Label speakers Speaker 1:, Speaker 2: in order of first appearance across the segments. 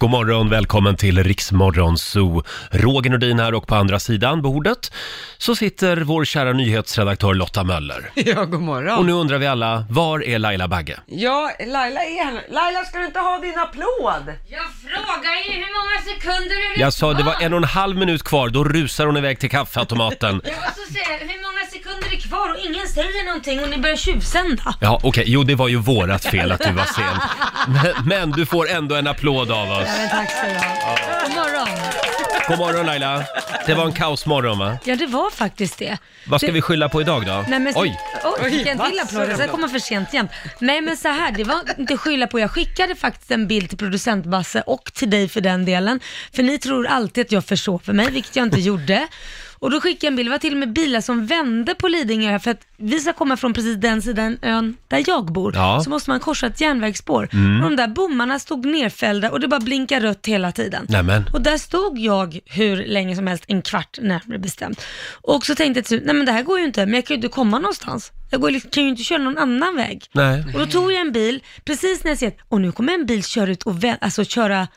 Speaker 1: God morgon, välkommen till Riksmorgon Zoo. Roger Nordin här och på andra sidan bordet så sitter vår kära nyhetsredaktör Lotta Möller.
Speaker 2: Ja, god morgon.
Speaker 1: Och nu undrar vi alla, var är Laila Bagge?
Speaker 2: Ja, Laila är här nu. Laila, ska du inte ha din applåd?
Speaker 3: Jag frågar ju hur många sekunder är det
Speaker 1: Jag sa det var en och en halv minut kvar, då rusar hon iväg till kaffeautomaten.
Speaker 3: Och så säger jag, hur många sekunder är kvar och ingen säger någonting och ni börjar tjuvsända.
Speaker 1: Ja, okej, jo det var ju vårat fel att du var sen. Men, men du får ändå en applåd av oss.
Speaker 4: men tack ska du ha. God morgon.
Speaker 1: God morgon Laila. Det var en kaosmorgon va?
Speaker 4: Ja, det var faktiskt det.
Speaker 1: Vad ska
Speaker 4: det...
Speaker 1: vi skylla på idag då?
Speaker 4: Nej, men...
Speaker 1: Oj!
Speaker 4: Oj, fick jag en
Speaker 2: Oj,
Speaker 4: till
Speaker 2: massor
Speaker 4: applåd. Sen
Speaker 2: ändå.
Speaker 4: kommer för sent jämt. Nej, men så här, det var inte skylla på. Jag skickade faktiskt en bild till producent Basse och till dig för den delen. För ni tror alltid att jag försover mig, vilket jag inte gjorde. Och då skickade jag en bild, det var till och med bilar som vände på Lidingö för att vi ska komma från precis den sidan ön där jag bor.
Speaker 1: Ja. Mm.
Speaker 4: Så måste man korsa ett järnvägsspår. Och de där bommarna stod nerfällda och det bara blinkade rött hela tiden.
Speaker 1: Nämen.
Speaker 4: Och där stod jag hur länge som helst, en kvart närmare bestämt. Och så tänkte jag till slut, nej men det här går ju inte, men jag kan ju inte komma någonstans. Jag går, liksom- kan ju inte köra någon annan väg.
Speaker 1: Nej.
Speaker 4: Och då tog jag en bil, precis när jag ser att, och nu kommer en bil köra ut och vä- alltså köra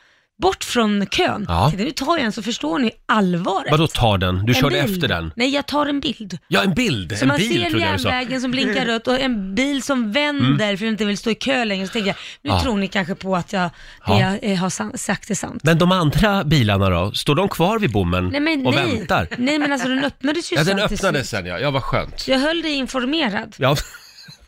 Speaker 4: bort från kön.
Speaker 1: Ja.
Speaker 4: Jag tänkte, Nu tar jag en så förstår ni allvaret.
Speaker 1: Vadå tar den? Du
Speaker 4: En
Speaker 1: körde
Speaker 4: bil.
Speaker 1: efter den?
Speaker 4: Nej, jag tar en bild.
Speaker 1: Ja, en bild!
Speaker 4: Så
Speaker 1: en
Speaker 4: man
Speaker 1: bil
Speaker 4: ser
Speaker 1: trodde jag du sa. Mm.
Speaker 4: järnvägen som blinkar rött och en bil som vänder för att inte vill stå i kö längre. Så tänker jag, nu
Speaker 1: Ja.
Speaker 4: tror ni kanske på att jag,
Speaker 1: Ja.
Speaker 4: jag, eh, har san- sagt är sant.
Speaker 1: Men de andra bilarna då? Står de kvar vid bommen
Speaker 4: Nej, men,
Speaker 1: och
Speaker 4: nej.
Speaker 1: väntar?
Speaker 4: Nej men alltså den öppnades ju
Speaker 1: Ja, den
Speaker 4: sen till
Speaker 1: öppnades
Speaker 4: slut.
Speaker 1: sen ja. Ja, vad skönt.
Speaker 4: Jag höll dig informerad
Speaker 1: Ja,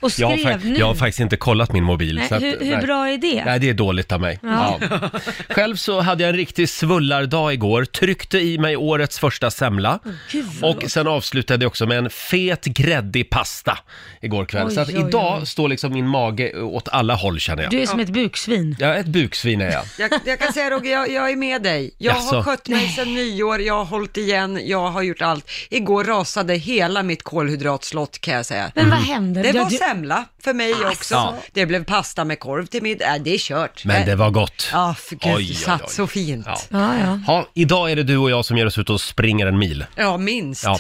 Speaker 4: och
Speaker 1: jag, har
Speaker 4: skrev
Speaker 1: fak-
Speaker 4: nu.
Speaker 1: jag har faktiskt inte kollat min mobil.
Speaker 4: nej,
Speaker 1: så att-
Speaker 4: hur hur
Speaker 1: nej.
Speaker 4: bra är det?
Speaker 1: Nej, det är dåligt av mig. Ja.
Speaker 4: Ja.
Speaker 1: Själv så hade jag en riktig svullardag igår. Tryckte i mig årets första semla.
Speaker 4: Gud, vad
Speaker 1: Och sen avslutade jag också med en fet gräddig pasta igår kväll.
Speaker 4: Oj,
Speaker 1: så att
Speaker 4: oj, oj.
Speaker 1: idag står liksom min mage åt alla håll känner jag.
Speaker 4: Du är som ett buksvin.
Speaker 1: Ja, ett buksvin är jag.
Speaker 2: Jag, jag kan säga Roger, jag, jag är med dig. Jag
Speaker 1: Jaså?
Speaker 2: har skött mig sedan nyår, jag har hållit igen, jag har gjort allt. Igår rasade hela mitt kolhydratslott kan jag säga.
Speaker 1: Mm.
Speaker 4: Men vad händer?
Speaker 2: Det
Speaker 4: Ja,
Speaker 2: var
Speaker 4: du-
Speaker 2: semla för mig också.
Speaker 1: Ja.
Speaker 2: Det blev pasta med korv till middag. Äh, det är kört.
Speaker 1: Men det var gott.
Speaker 2: Ja, för gud,
Speaker 1: Oj, oj,
Speaker 2: det
Speaker 1: oj.
Speaker 2: satt så fint.
Speaker 1: Ja.
Speaker 2: Ja,
Speaker 4: Ja, ja.
Speaker 1: Ha, idag är det du och jag som ger oss ut och springer en mil.
Speaker 2: minst.
Speaker 1: Ja.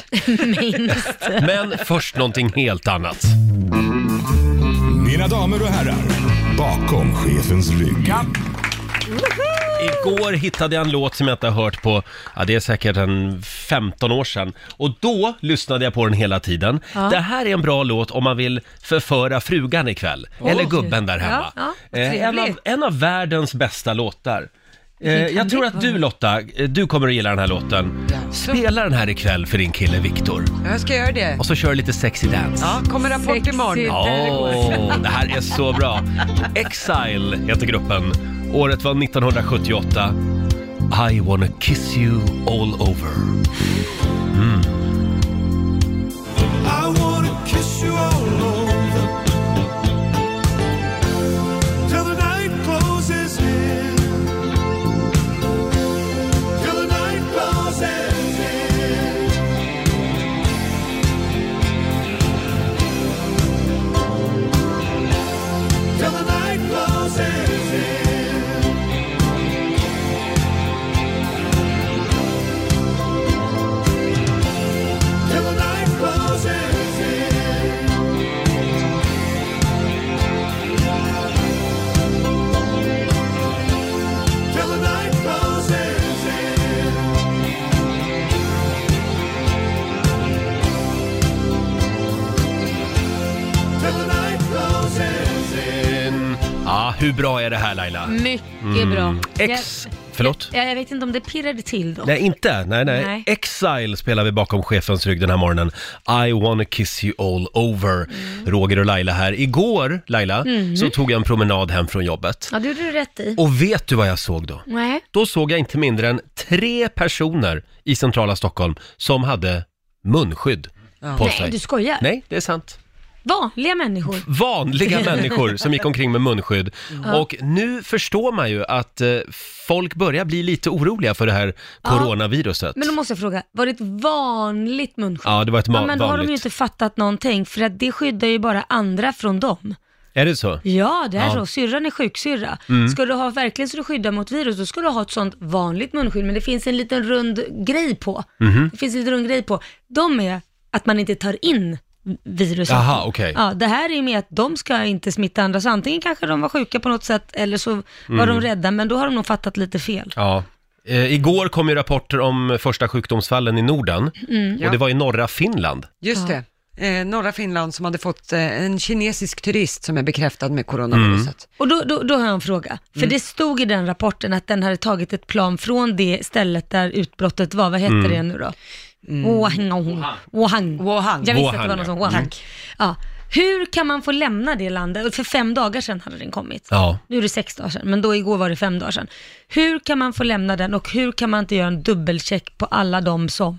Speaker 4: Minst.
Speaker 1: Men först någonting helt annat.
Speaker 5: Mina damer och herrar, bakom chefens rygg.
Speaker 1: Igår hittade jag en låt som jag inte har hört på, ja det är säkert en 15 år sedan. Och då lyssnade jag på den hela tiden. Det här är en bra låt om man vill förföra frugan ikväll. Eller gubben där hemma.
Speaker 4: Ja, ja,
Speaker 1: Eh, en, av,
Speaker 4: trevligt.
Speaker 1: en av världens bästa låtar. Eh, jag tror att du Lotta, eh, du kommer att gilla den här låten. Spela den här ikväll för din kille Viktor.
Speaker 2: Jag ska göra det.
Speaker 1: Och så kör lite sexy dance.
Speaker 2: Ja, kommer rapport imorgon.
Speaker 4: Sexigt.
Speaker 1: Ja, det här är så bra. Exile heter gruppen. Året var 1978. I wanna kiss you all over.
Speaker 5: I wanna kiss you all over. Till the night closes in. Till the night closes in. Till the night closes in. Till the night closes in. Till the night closes in. Till the night closes in.
Speaker 1: Ja, hur bra är det här Laila?
Speaker 4: Mm. Mycket bra.
Speaker 1: Mm. Ex... Förlåt?
Speaker 4: Jag, jag vet inte om det pirrade till då.
Speaker 1: Nej, inte. Nej, nej,
Speaker 4: Nej.
Speaker 1: Exile spelar vi bakom chefens rygg den här morgonen. I wanna kiss you all over. Roger och Laila här. Igår, Laila, så tog jag en promenad hem från jobbet.
Speaker 4: Ja, det gjorde du rätt i.
Speaker 1: Och vet du vad jag såg då?
Speaker 4: Nej.
Speaker 1: Då såg jag inte mindre än tre personer i centrala Stockholm som hade munskydd på sig.
Speaker 4: Nej, du skojar.
Speaker 1: Nej, det är sant.
Speaker 4: Vanliga människor.
Speaker 1: Vanliga människor som gick omkring med munskydd. Och nu förstår man ju att eh, folk börjar bli lite oroliga för det här coronaviruset.
Speaker 4: Men då måste jag fråga, var det ett vanligt munskydd?
Speaker 1: Ja, det var ett ma-
Speaker 4: ja, men då har de ju
Speaker 1: vanligt.
Speaker 4: inte fattat någonting, för att det skyddar ju bara andra från dem.
Speaker 1: Är det så?
Speaker 4: Ja, det är
Speaker 1: Ja. Mm.
Speaker 4: så. Syrran är sjuksyrra. Ska du ha verkligen så du skyddar mot virus, då ska du ha ett sånt vanligt munskydd, men det finns en
Speaker 1: Mhm.
Speaker 4: liten rund grej på. Det finns en liten rund grej på. De är att man inte tar in virus.
Speaker 1: Jaha, okej.
Speaker 4: Ja, det här är ju med att de ska inte smitta andra, så antingen kanske de var sjuka på något sätt eller så
Speaker 1: Mm.
Speaker 4: var de rädda, men då har de nog fattat lite fel.
Speaker 1: Ja. Eh, igår kom ju rapporter om första sjukdomsfallen i Norden.
Speaker 4: Mm.
Speaker 2: ja.
Speaker 1: Och det var i norra Finland.
Speaker 2: Just det. Eh, norra Finland som hade fått eh, en kinesisk turist som är bekräftad med
Speaker 1: Mm.
Speaker 2: coronaviruset.
Speaker 4: Och då, då, då har jag en fråga, för det stod i den rapporten att den hade tagit ett plan från det stället där utbrottet var, vad hette det nu då? Wuhan. Wuhan.
Speaker 2: Wuhan.
Speaker 4: Jag visste att
Speaker 1: Wuhan,
Speaker 4: det var något som
Speaker 1: Mm.
Speaker 4: Wuhan. Ja. Hur kan man få lämna det landet? För fem dagar sedan hade den kommit.
Speaker 1: Ja.
Speaker 4: Nu är det sex dagar sedan, men då igår var det fem dagar sedan. Hur kan man få lämna den och hur kan man inte göra en dubbelcheck på alla de som,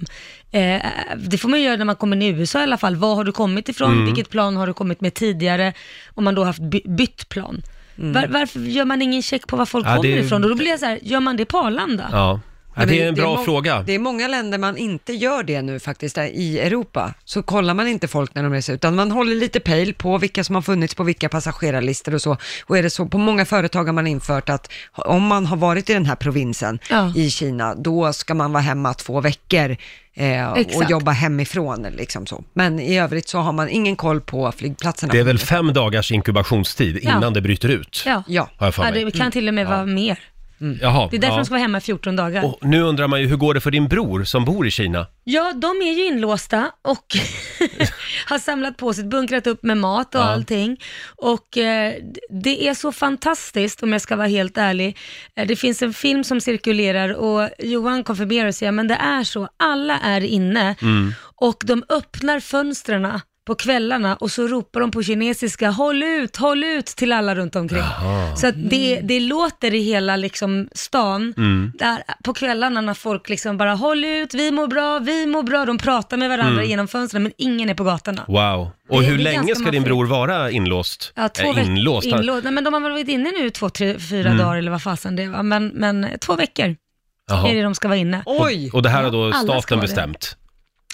Speaker 4: eh, det får man ju göra när man kommer till USA i alla fall, var har du kommit ifrån,
Speaker 1: Mm.
Speaker 4: vilket plan har du kommit med tidigare, om man då har haft by- bytt plan. Var, varför gör man ingen check på var folk
Speaker 1: Mm. Ja, det-
Speaker 4: kommer ifrån? Och då blir jag så här, gör man det på Arlanda?
Speaker 1: Ja. Ja, det är en
Speaker 2: Men
Speaker 1: bra
Speaker 2: må-
Speaker 1: fråga.
Speaker 2: Det är många länder man inte gör det nu faktiskt, där i Europa. Så kollar man inte folk när de reser, utan man håller lite pejl på vilka som har funnits på vilka passagerarlistor och så. Och är det så, på många företag har man infört att om man har varit i den här provinsen
Speaker 4: Ja.
Speaker 2: i Kina, då ska man vara hemma två veckor eh, och
Speaker 4: Exakt.
Speaker 2: jobba hemifrån. Liksom så. Men i övrigt så har man ingen koll på flygplatserna.
Speaker 1: Det är väl fem dagars inkubationstid innan
Speaker 4: Ja.
Speaker 1: det bryter ut?
Speaker 4: Ja,
Speaker 2: Ja.
Speaker 1: Har jag för
Speaker 4: Ja,
Speaker 1: mig.
Speaker 4: det kan till och med vara mer.
Speaker 1: Jaha,
Speaker 4: Det är därför
Speaker 1: ja.
Speaker 4: de ska vara hemma i 14 dagar.
Speaker 1: Och nu undrar man ju, hur går det för din bror som bor i Kina?
Speaker 4: Ja, de är ju inlåsta och har samlat på sig, bunkrat upp med mat och
Speaker 1: Ja.
Speaker 4: allting. Och eh, det är så fantastiskt om jag ska vara helt ärlig. Eh, det finns en film som cirkulerar och Johan konfirmerar och säger, men det är så, alla är inne och de öppnar fönstren på kvällarna och så ropar de på kinesiska håll ut, håll ut till alla runt omkring. Så att det, det låter i hela liksom stan, där på kvällarna när folk liksom bara håll ut, vi mår bra, vi mår bra, de pratar med varandra genom fönstren men ingen är på gatorna.
Speaker 1: Wow. Och
Speaker 4: Det-
Speaker 1: hur
Speaker 4: det är
Speaker 1: länge
Speaker 4: ganska
Speaker 1: ska din
Speaker 4: maffigt.
Speaker 1: bror vara inlåst?
Speaker 4: Ja, två
Speaker 1: Eh, Mm.
Speaker 4: veck-
Speaker 1: inlåst. Han-
Speaker 4: inlåst. Nej, men de har väl varit inne nu i två, tre, fyra dagar eller vad fasen det var, men, men eh, två veckor
Speaker 1: Jaha.
Speaker 4: är det de ska vara inne.
Speaker 2: Oj!
Speaker 1: Och det här har då
Speaker 4: Ja, alla ska
Speaker 1: staten
Speaker 4: vara det.
Speaker 1: bestämt?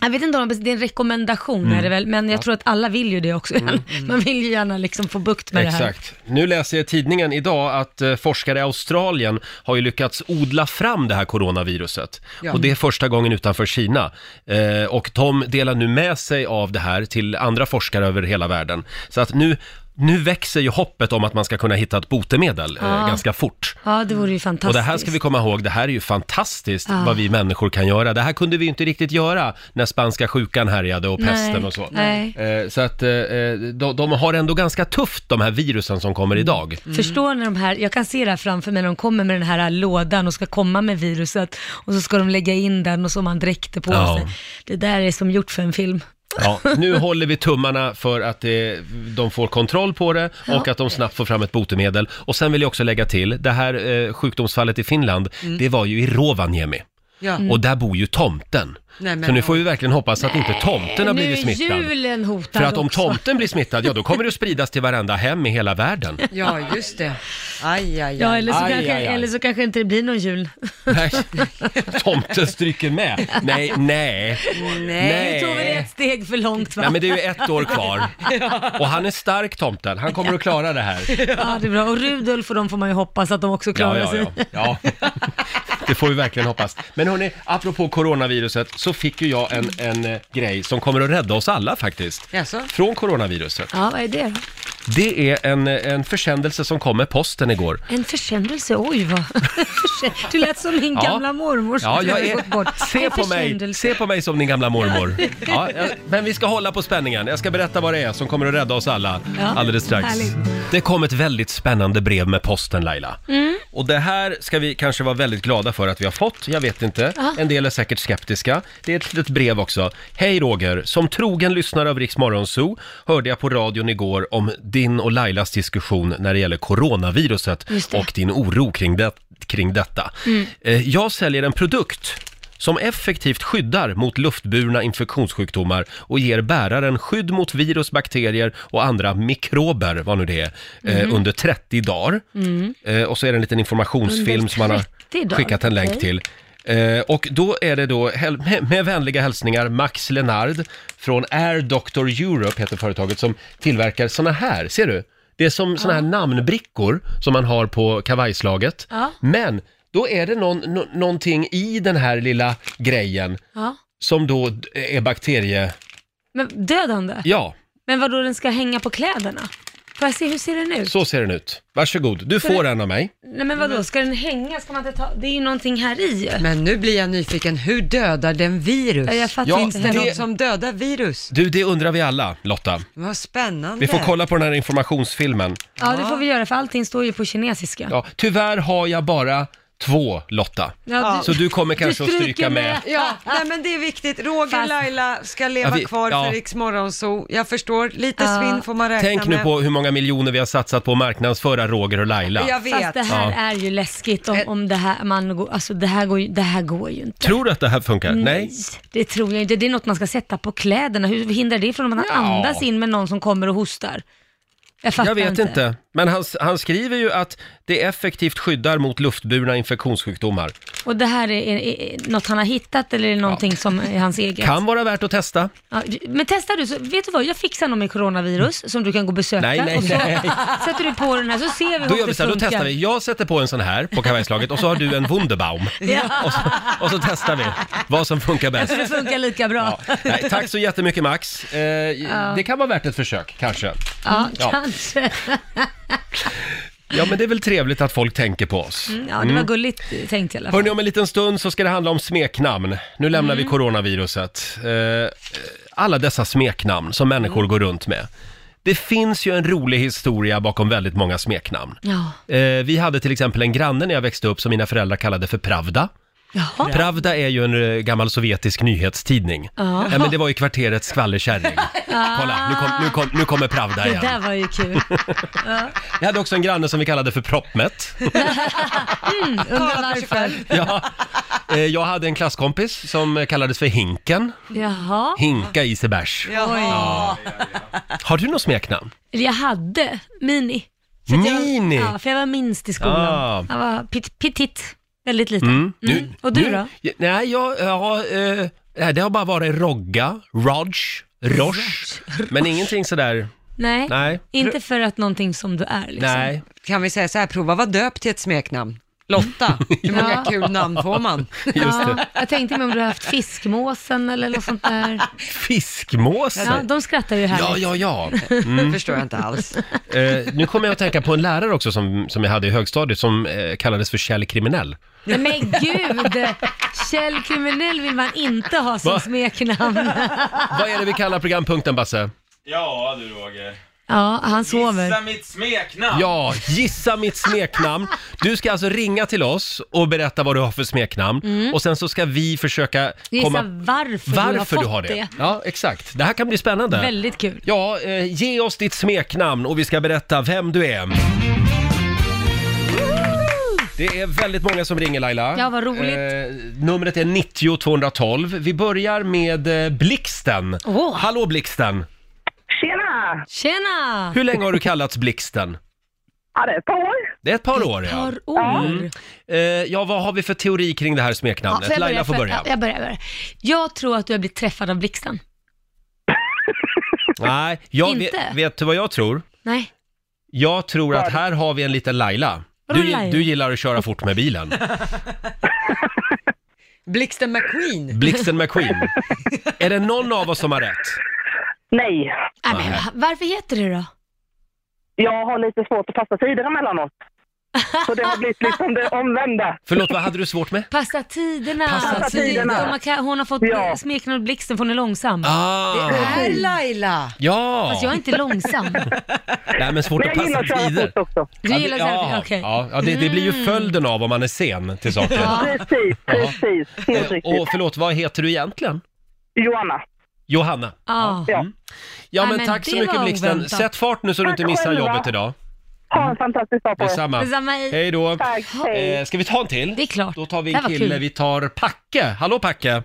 Speaker 4: Jag vet inte om de- det är en rekommendation
Speaker 1: Mm.
Speaker 4: är det väl, men jag tror att alla vill ju det också. Man vill ju gärna liksom få bukt med det här.
Speaker 1: Exakt. Nu läser jag i tidningen idag att eh, forskare i Australien har ju lyckats odla fram det här coronaviruset.
Speaker 2: Ja.
Speaker 1: Och det är första gången utanför Kina. Eh, och de delar nu med sig av det här till andra forskare över hela världen. Så att nu, nu växer ju hoppet om att man ska kunna hitta ett botemedel eh,
Speaker 4: Ja.
Speaker 1: ganska fort.
Speaker 4: Ja, det vore ju fantastiskt.
Speaker 1: Och det här ska vi komma ihåg, det här är ju fantastiskt vad vi människor kan göra. Det här kunde vi ju inte riktigt göra när spanska sjukan härjade och pesten
Speaker 4: Nej,
Speaker 1: och så.
Speaker 4: nej.
Speaker 1: Eh, Så att eh, eh, de, de har ändå ganska tufft de här virusen som kommer idag.
Speaker 4: Förstår när de här, jag kan se det här framför mig när de kommer med den här lådan och ska komma med viruset och så ska de lägga in den och så har man dräkter på
Speaker 1: Ja.
Speaker 4: sig. Det där är som gjort för en film.
Speaker 1: Ja, nu håller vi tummarna för att det, de får kontroll på det och att de snabbt får fram ett botemedel. Och sen vill jag också lägga till, det här eh, sjukdomsfallet i Finland,
Speaker 4: Mm.
Speaker 1: det var ju i Rovaniemi.
Speaker 2: Ja.
Speaker 1: Och där bor ju tomten.
Speaker 2: Nej, men-
Speaker 1: så nu får vi verkligen hoppas att inte tomten har
Speaker 4: nu
Speaker 1: blivit
Speaker 4: är
Speaker 1: smittad.
Speaker 4: julen hotad
Speaker 1: För att om
Speaker 4: också.
Speaker 1: tomten blir smittad, ja då kommer det att spridas till varenda hem i hela världen.
Speaker 2: Ja, just det. Aj, aj, aj.
Speaker 4: Ja, eller så,
Speaker 1: Aj,
Speaker 4: kanske,
Speaker 1: aj, aj.
Speaker 4: eller så kanske inte det blir någon jul.
Speaker 1: Nej, tomten stryker med. Nej, nej.
Speaker 4: Nu tog vi det ett steg för långt va?
Speaker 1: Nej men det är ju ett år kvar. Och han är stark tomten, han kommer att klara det här.
Speaker 4: Ja, det är bra. Och Rudolf och de får man ju hoppas att de också klarar
Speaker 1: Ja, ja,
Speaker 4: sig.
Speaker 1: ja. ja. Det får vi verkligen hoppas. Men hörni, apropå coronaviruset så fick ju jag en, en eh, grej som kommer att rädda oss alla faktiskt.
Speaker 2: Jaså?
Speaker 1: Från coronaviruset.
Speaker 4: Ja, vad är det?
Speaker 1: Det är en, eh, en försändelse som kom med posten igår.
Speaker 4: En försändelse, oj vad. Du lät som min
Speaker 1: Ja.
Speaker 4: gamla mormor som
Speaker 1: Ja, jag
Speaker 4: hade gått bort.
Speaker 1: är... Se
Speaker 4: En
Speaker 1: på mig,
Speaker 4: försändelse.
Speaker 1: se på mig som din gamla mormor. Ja, jag- men vi ska hålla på spänningen. Jag ska berätta vad det är som kommer att rädda oss alla
Speaker 4: Ja,
Speaker 1: alldeles strax.
Speaker 4: härligt. Mm.
Speaker 1: Det kom ett väldigt spännande brev med posten Laila. Och det här ska vi kanske vara väldigt glada för att vi har fått. Jag vet inte. En del är säkert skeptiska. Det är ett litet brev också. Hej Roger, som trogen lyssnare av Riks Morgonzoo hörde jag på radion igår om din och Lailas diskussion när det gäller coronaviruset
Speaker 4: Just det.
Speaker 1: och din oro kring, det, kring detta. Eh, Jag säljer en produkt som effektivt skyddar mot luftburna infektionssjukdomar och ger bäraren skydd mot virus, bakterier och andra mikrober, vad nu det är, eh, under 30 dagar. Eh, och så är det en liten informationsfilm som man har
Speaker 4: 30 dagar,
Speaker 1: skickat en länk
Speaker 4: okej.
Speaker 1: till. Eh, och då är det då, häl- med, med vänliga hälsningar, Max Lenard från Air Doctor Europe heter företaget som tillverkar såna här, ser du? Det är som såna här namnbrickor som man har på kavajslaget.
Speaker 4: Ja.
Speaker 1: Men då är det någon, nå- någonting i den här lilla grejen
Speaker 4: Ja.
Speaker 1: som då är bakterie...
Speaker 4: Men död han det?
Speaker 1: Ja,
Speaker 4: Men vadå, den ska hänga på kläderna? Får jag se, hur ser den ut?
Speaker 1: så ser den ut. Varsågod, du får en av mig.
Speaker 4: Nej men vadå, ska den hänga? Ska man inte ta... Det är ju någonting här i ju.
Speaker 2: Men nu blir jag nyfiken, hur dödar den virus?
Speaker 4: Ja, Jag fattar
Speaker 1: Ja,
Speaker 4: inte.
Speaker 2: Det är
Speaker 4: heller.
Speaker 2: något som dödar virus.
Speaker 1: Du, det undrar vi alla, Lotta.
Speaker 2: Vad spännande.
Speaker 1: Vi får kolla på den här informationsfilmen.
Speaker 4: Ja, det får vi göra för allting står ju på kinesiska.
Speaker 1: Ja, tyvärr har jag bara två, Lotta.
Speaker 4: Ja, du-
Speaker 1: Så du kommer kanske att
Speaker 4: stryker
Speaker 1: stryka med.
Speaker 4: med.
Speaker 2: Ja, nej men det är viktigt. Roger
Speaker 4: Fast-
Speaker 2: Laila ska leva
Speaker 1: Ja, vi-
Speaker 2: kvar
Speaker 1: ja.
Speaker 2: för Riks Morgonzoo. Jag förstår, lite
Speaker 4: Ja.
Speaker 2: svinn får man räkna
Speaker 1: Tänk nu
Speaker 2: med.
Speaker 1: på hur många miljoner vi har satsat på att marknadsföra Roger och Laila.
Speaker 2: Jag vet.
Speaker 4: Fast det här
Speaker 1: Ja.
Speaker 4: är ju läskigt om,
Speaker 1: Eh.
Speaker 4: om det här, man går, alltså det här går ju, det här går ju inte.
Speaker 1: Tror du att det här funkar? Nej.
Speaker 4: Det tror jag inte. Det är något man ska sätta på kläderna. Hur hindrar det från att man
Speaker 1: Ja.
Speaker 4: andas in med någon som kommer och hostar? Jag fattar
Speaker 1: Jag vet inte. Men han, han skriver ju att det effektivt skyddar mot luftburna infektionssjukdomar.
Speaker 4: Och det här är, är, är något han har hittat eller är det någonting som är hans eget?
Speaker 1: Kan vara värt att testa.
Speaker 4: Ja, men testar du, så, vet du vad, jag fixar någon med coronavirus som du kan gå och besöka.
Speaker 1: Mm. Nej, nej,
Speaker 4: och så
Speaker 1: nej.
Speaker 4: sätter du på den här så ser vi
Speaker 1: Då
Speaker 4: om
Speaker 1: gör
Speaker 4: det
Speaker 1: vi så här, då
Speaker 4: funkar.
Speaker 1: testar vi. Jag sätter på en sån här på kavajslaget och så har du en Wunderbaum. Och, så, och så testar vi vad som funkar bäst.
Speaker 4: Det funkar lika bra. Ja,
Speaker 1: Nej, tack så jättemycket Max. Eh, Det kan vara värt ett försök, kanske. Mm. Ja.
Speaker 4: kanske.
Speaker 1: Ja, men det är väl trevligt att folk tänker på oss.
Speaker 4: Ja, det var gulligt tänkt i alla fall.
Speaker 1: Hörni, om en liten stund så ska det handla om smeknamn. Nu lämnar
Speaker 4: Mm.
Speaker 1: vi coronaviruset. Eh, alla dessa smeknamn som människor
Speaker 4: Mm.
Speaker 1: går runt med. Det finns ju en rolig historia bakom väldigt många smeknamn.
Speaker 4: Ja.
Speaker 1: Eh, vi hade till exempel en granne när jag växte upp som mina föräldrar kallade för Pravda.
Speaker 4: Jaha.
Speaker 1: Pravda är ju en eh, gammal sovjetisk nyhetstidning.
Speaker 4: Ja.
Speaker 1: Ja, men det var ju kvarterets skvallerkärring. Kolla, nu, kom, nu, kom, nu kommer Pravda
Speaker 4: Det
Speaker 1: igen.
Speaker 4: där var ju kul.
Speaker 1: Jag hade också en granne som vi kallade för Proppmätt.
Speaker 4: Undrar varför.
Speaker 1: Ja. Eh, Jag hade en klasskompis som kallades för Hinken.
Speaker 4: Jaha.
Speaker 1: Hinka i sig bärs.
Speaker 2: Jaha.
Speaker 1: Har du något smeknamn?
Speaker 4: Eller Jag hade Mini. För att
Speaker 1: Mini?
Speaker 4: Jag, ja, för jag var minst i skolan.
Speaker 1: Ah.
Speaker 4: Jag var pit, petit, väldigt liten.
Speaker 1: Mm.
Speaker 4: Mm. Och du
Speaker 1: nu-
Speaker 4: då?
Speaker 1: Ja, Nej, jag, ja, eh, nej, det har bara varit Rogga, Rog, Rosh, men ingenting sådär,
Speaker 4: Liksom. Nej.
Speaker 1: nej,
Speaker 4: Inte för att någonting som du är liksom.
Speaker 1: nej.
Speaker 2: Kan vi säga så här, prova vara döpt till ett smeknamn. Lotta, hur många
Speaker 4: Ja.
Speaker 2: kul namn får man?
Speaker 1: Just det.
Speaker 4: Ja, jag tänkte mig om du har haft fiskmåsen eller något sånt där. Ja,
Speaker 1: Fiskmåsen.
Speaker 4: de skrattar ju här.
Speaker 1: Ja, ja, ja. Mm.
Speaker 2: förstår jag inte alls.
Speaker 1: Eh, nu kommer jag att tänka på en lärare också som, som jag hade i högstadiet som eh, kallades för Kjell Kriminell.
Speaker 4: Nej, men gud! Kjell Kriminell vill man inte ha som
Speaker 1: Va?
Speaker 4: smeknamn.
Speaker 1: Vad är det vi kallar programpunkten, Basse?
Speaker 6: Ja du Roger.
Speaker 4: Ja, han sover.
Speaker 6: Gissa mitt smeknamn!
Speaker 1: Ja, gissa mitt smeknamn. Du ska alltså ringa till oss och berätta vad du har för smeknamn och sen så ska vi försöka
Speaker 4: Mm. Gissa
Speaker 1: komma...
Speaker 4: varför,
Speaker 1: Varför du
Speaker 4: fått
Speaker 1: har det. Ja, exakt. Det här kan bli spännande.
Speaker 4: Väldigt kul.
Speaker 1: Ja, eh, ge oss ditt smeknamn och vi ska berätta vem du är. Det är väldigt många som ringer Laila.
Speaker 4: Ja, vad roligt.
Speaker 1: Eh, numret är 90 212. Vi börjar med eh, Blixten.
Speaker 4: Åh.
Speaker 1: Hallå Blixten!
Speaker 7: Tjena!
Speaker 4: Tjena!
Speaker 1: Hur länge har du kallats Blixten?
Speaker 7: Ja, det är ett par år.
Speaker 1: Det är ett par år ja.
Speaker 4: Par år.
Speaker 1: Eh, ja, vad har vi för teori kring det här
Speaker 4: Ja,
Speaker 1: smeknamnet?
Speaker 4: jag
Speaker 1: Laila får
Speaker 4: För-
Speaker 1: börja.
Speaker 4: ja, Jag börjar, jag börjar. Jag tror att du har blivit träffad av blixten.
Speaker 1: Nej, jag vet,
Speaker 4: Inte?
Speaker 1: vet du vad jag tror?
Speaker 4: Nej.
Speaker 1: Jag tror att här har vi en liten Laila. Du,
Speaker 4: Vadå
Speaker 1: gi-
Speaker 4: Laila?
Speaker 1: du gillar att köra fort med bilen.
Speaker 2: Blixten McQueen.
Speaker 1: Blixten McQueen. Är det någon av oss som har rätt?
Speaker 7: Nej,
Speaker 4: Nej, Äh, men, va- varför heter du då?
Speaker 7: jag har lite svårt att passa tider emellanåt. Så det har blivit liksom det omvända.
Speaker 1: Förlåt, vad hade du svårt med?
Speaker 4: Passa tiderna.
Speaker 1: Passa
Speaker 4: Så det-
Speaker 7: tiderna.
Speaker 4: man kan, hon har fått
Speaker 7: Ja.
Speaker 4: smeknamnet blixten för hon är långsam.
Speaker 1: Ah,
Speaker 2: Här Laila!
Speaker 1: ja!
Speaker 4: Fast jag är inte långsam.
Speaker 1: Nej, men svårt
Speaker 7: Men
Speaker 1: att
Speaker 7: jag gillar
Speaker 1: passa
Speaker 7: att köra
Speaker 1: tider.
Speaker 7: fort också.
Speaker 4: Du gillar
Speaker 1: ja,
Speaker 4: ja,
Speaker 1: ja,
Speaker 4: okej. Mm.
Speaker 1: ja, ja, det, det blir ju följden av om man är sen till saker.
Speaker 7: Precis, precis. Helt riktigt.
Speaker 1: Eh, Och förlåt, vad heter du egentligen?
Speaker 7: Johanna.
Speaker 1: Johanna. Mm.
Speaker 4: Ja.
Speaker 7: Ja.
Speaker 1: Ja,
Speaker 4: Nej,
Speaker 1: men
Speaker 4: men
Speaker 1: tack så
Speaker 4: det
Speaker 1: mycket
Speaker 4: var
Speaker 1: Blixten.
Speaker 4: oväntat.
Speaker 1: Sätt fart nu så du inte
Speaker 7: Tack
Speaker 1: missar
Speaker 7: själva.
Speaker 1: jobbet idag.
Speaker 7: Ha en fantastisk dag på er.
Speaker 1: Mm. Detsamma.
Speaker 4: Detsamma i.
Speaker 1: Hej då.
Speaker 7: Tack, hej.
Speaker 1: Eh, ska vi ta en till?
Speaker 4: Det är klart.
Speaker 1: Då tar vi
Speaker 4: Det
Speaker 1: en
Speaker 4: här var
Speaker 1: kille.
Speaker 4: kul.
Speaker 1: Vi tar Packe. Hallå Packe!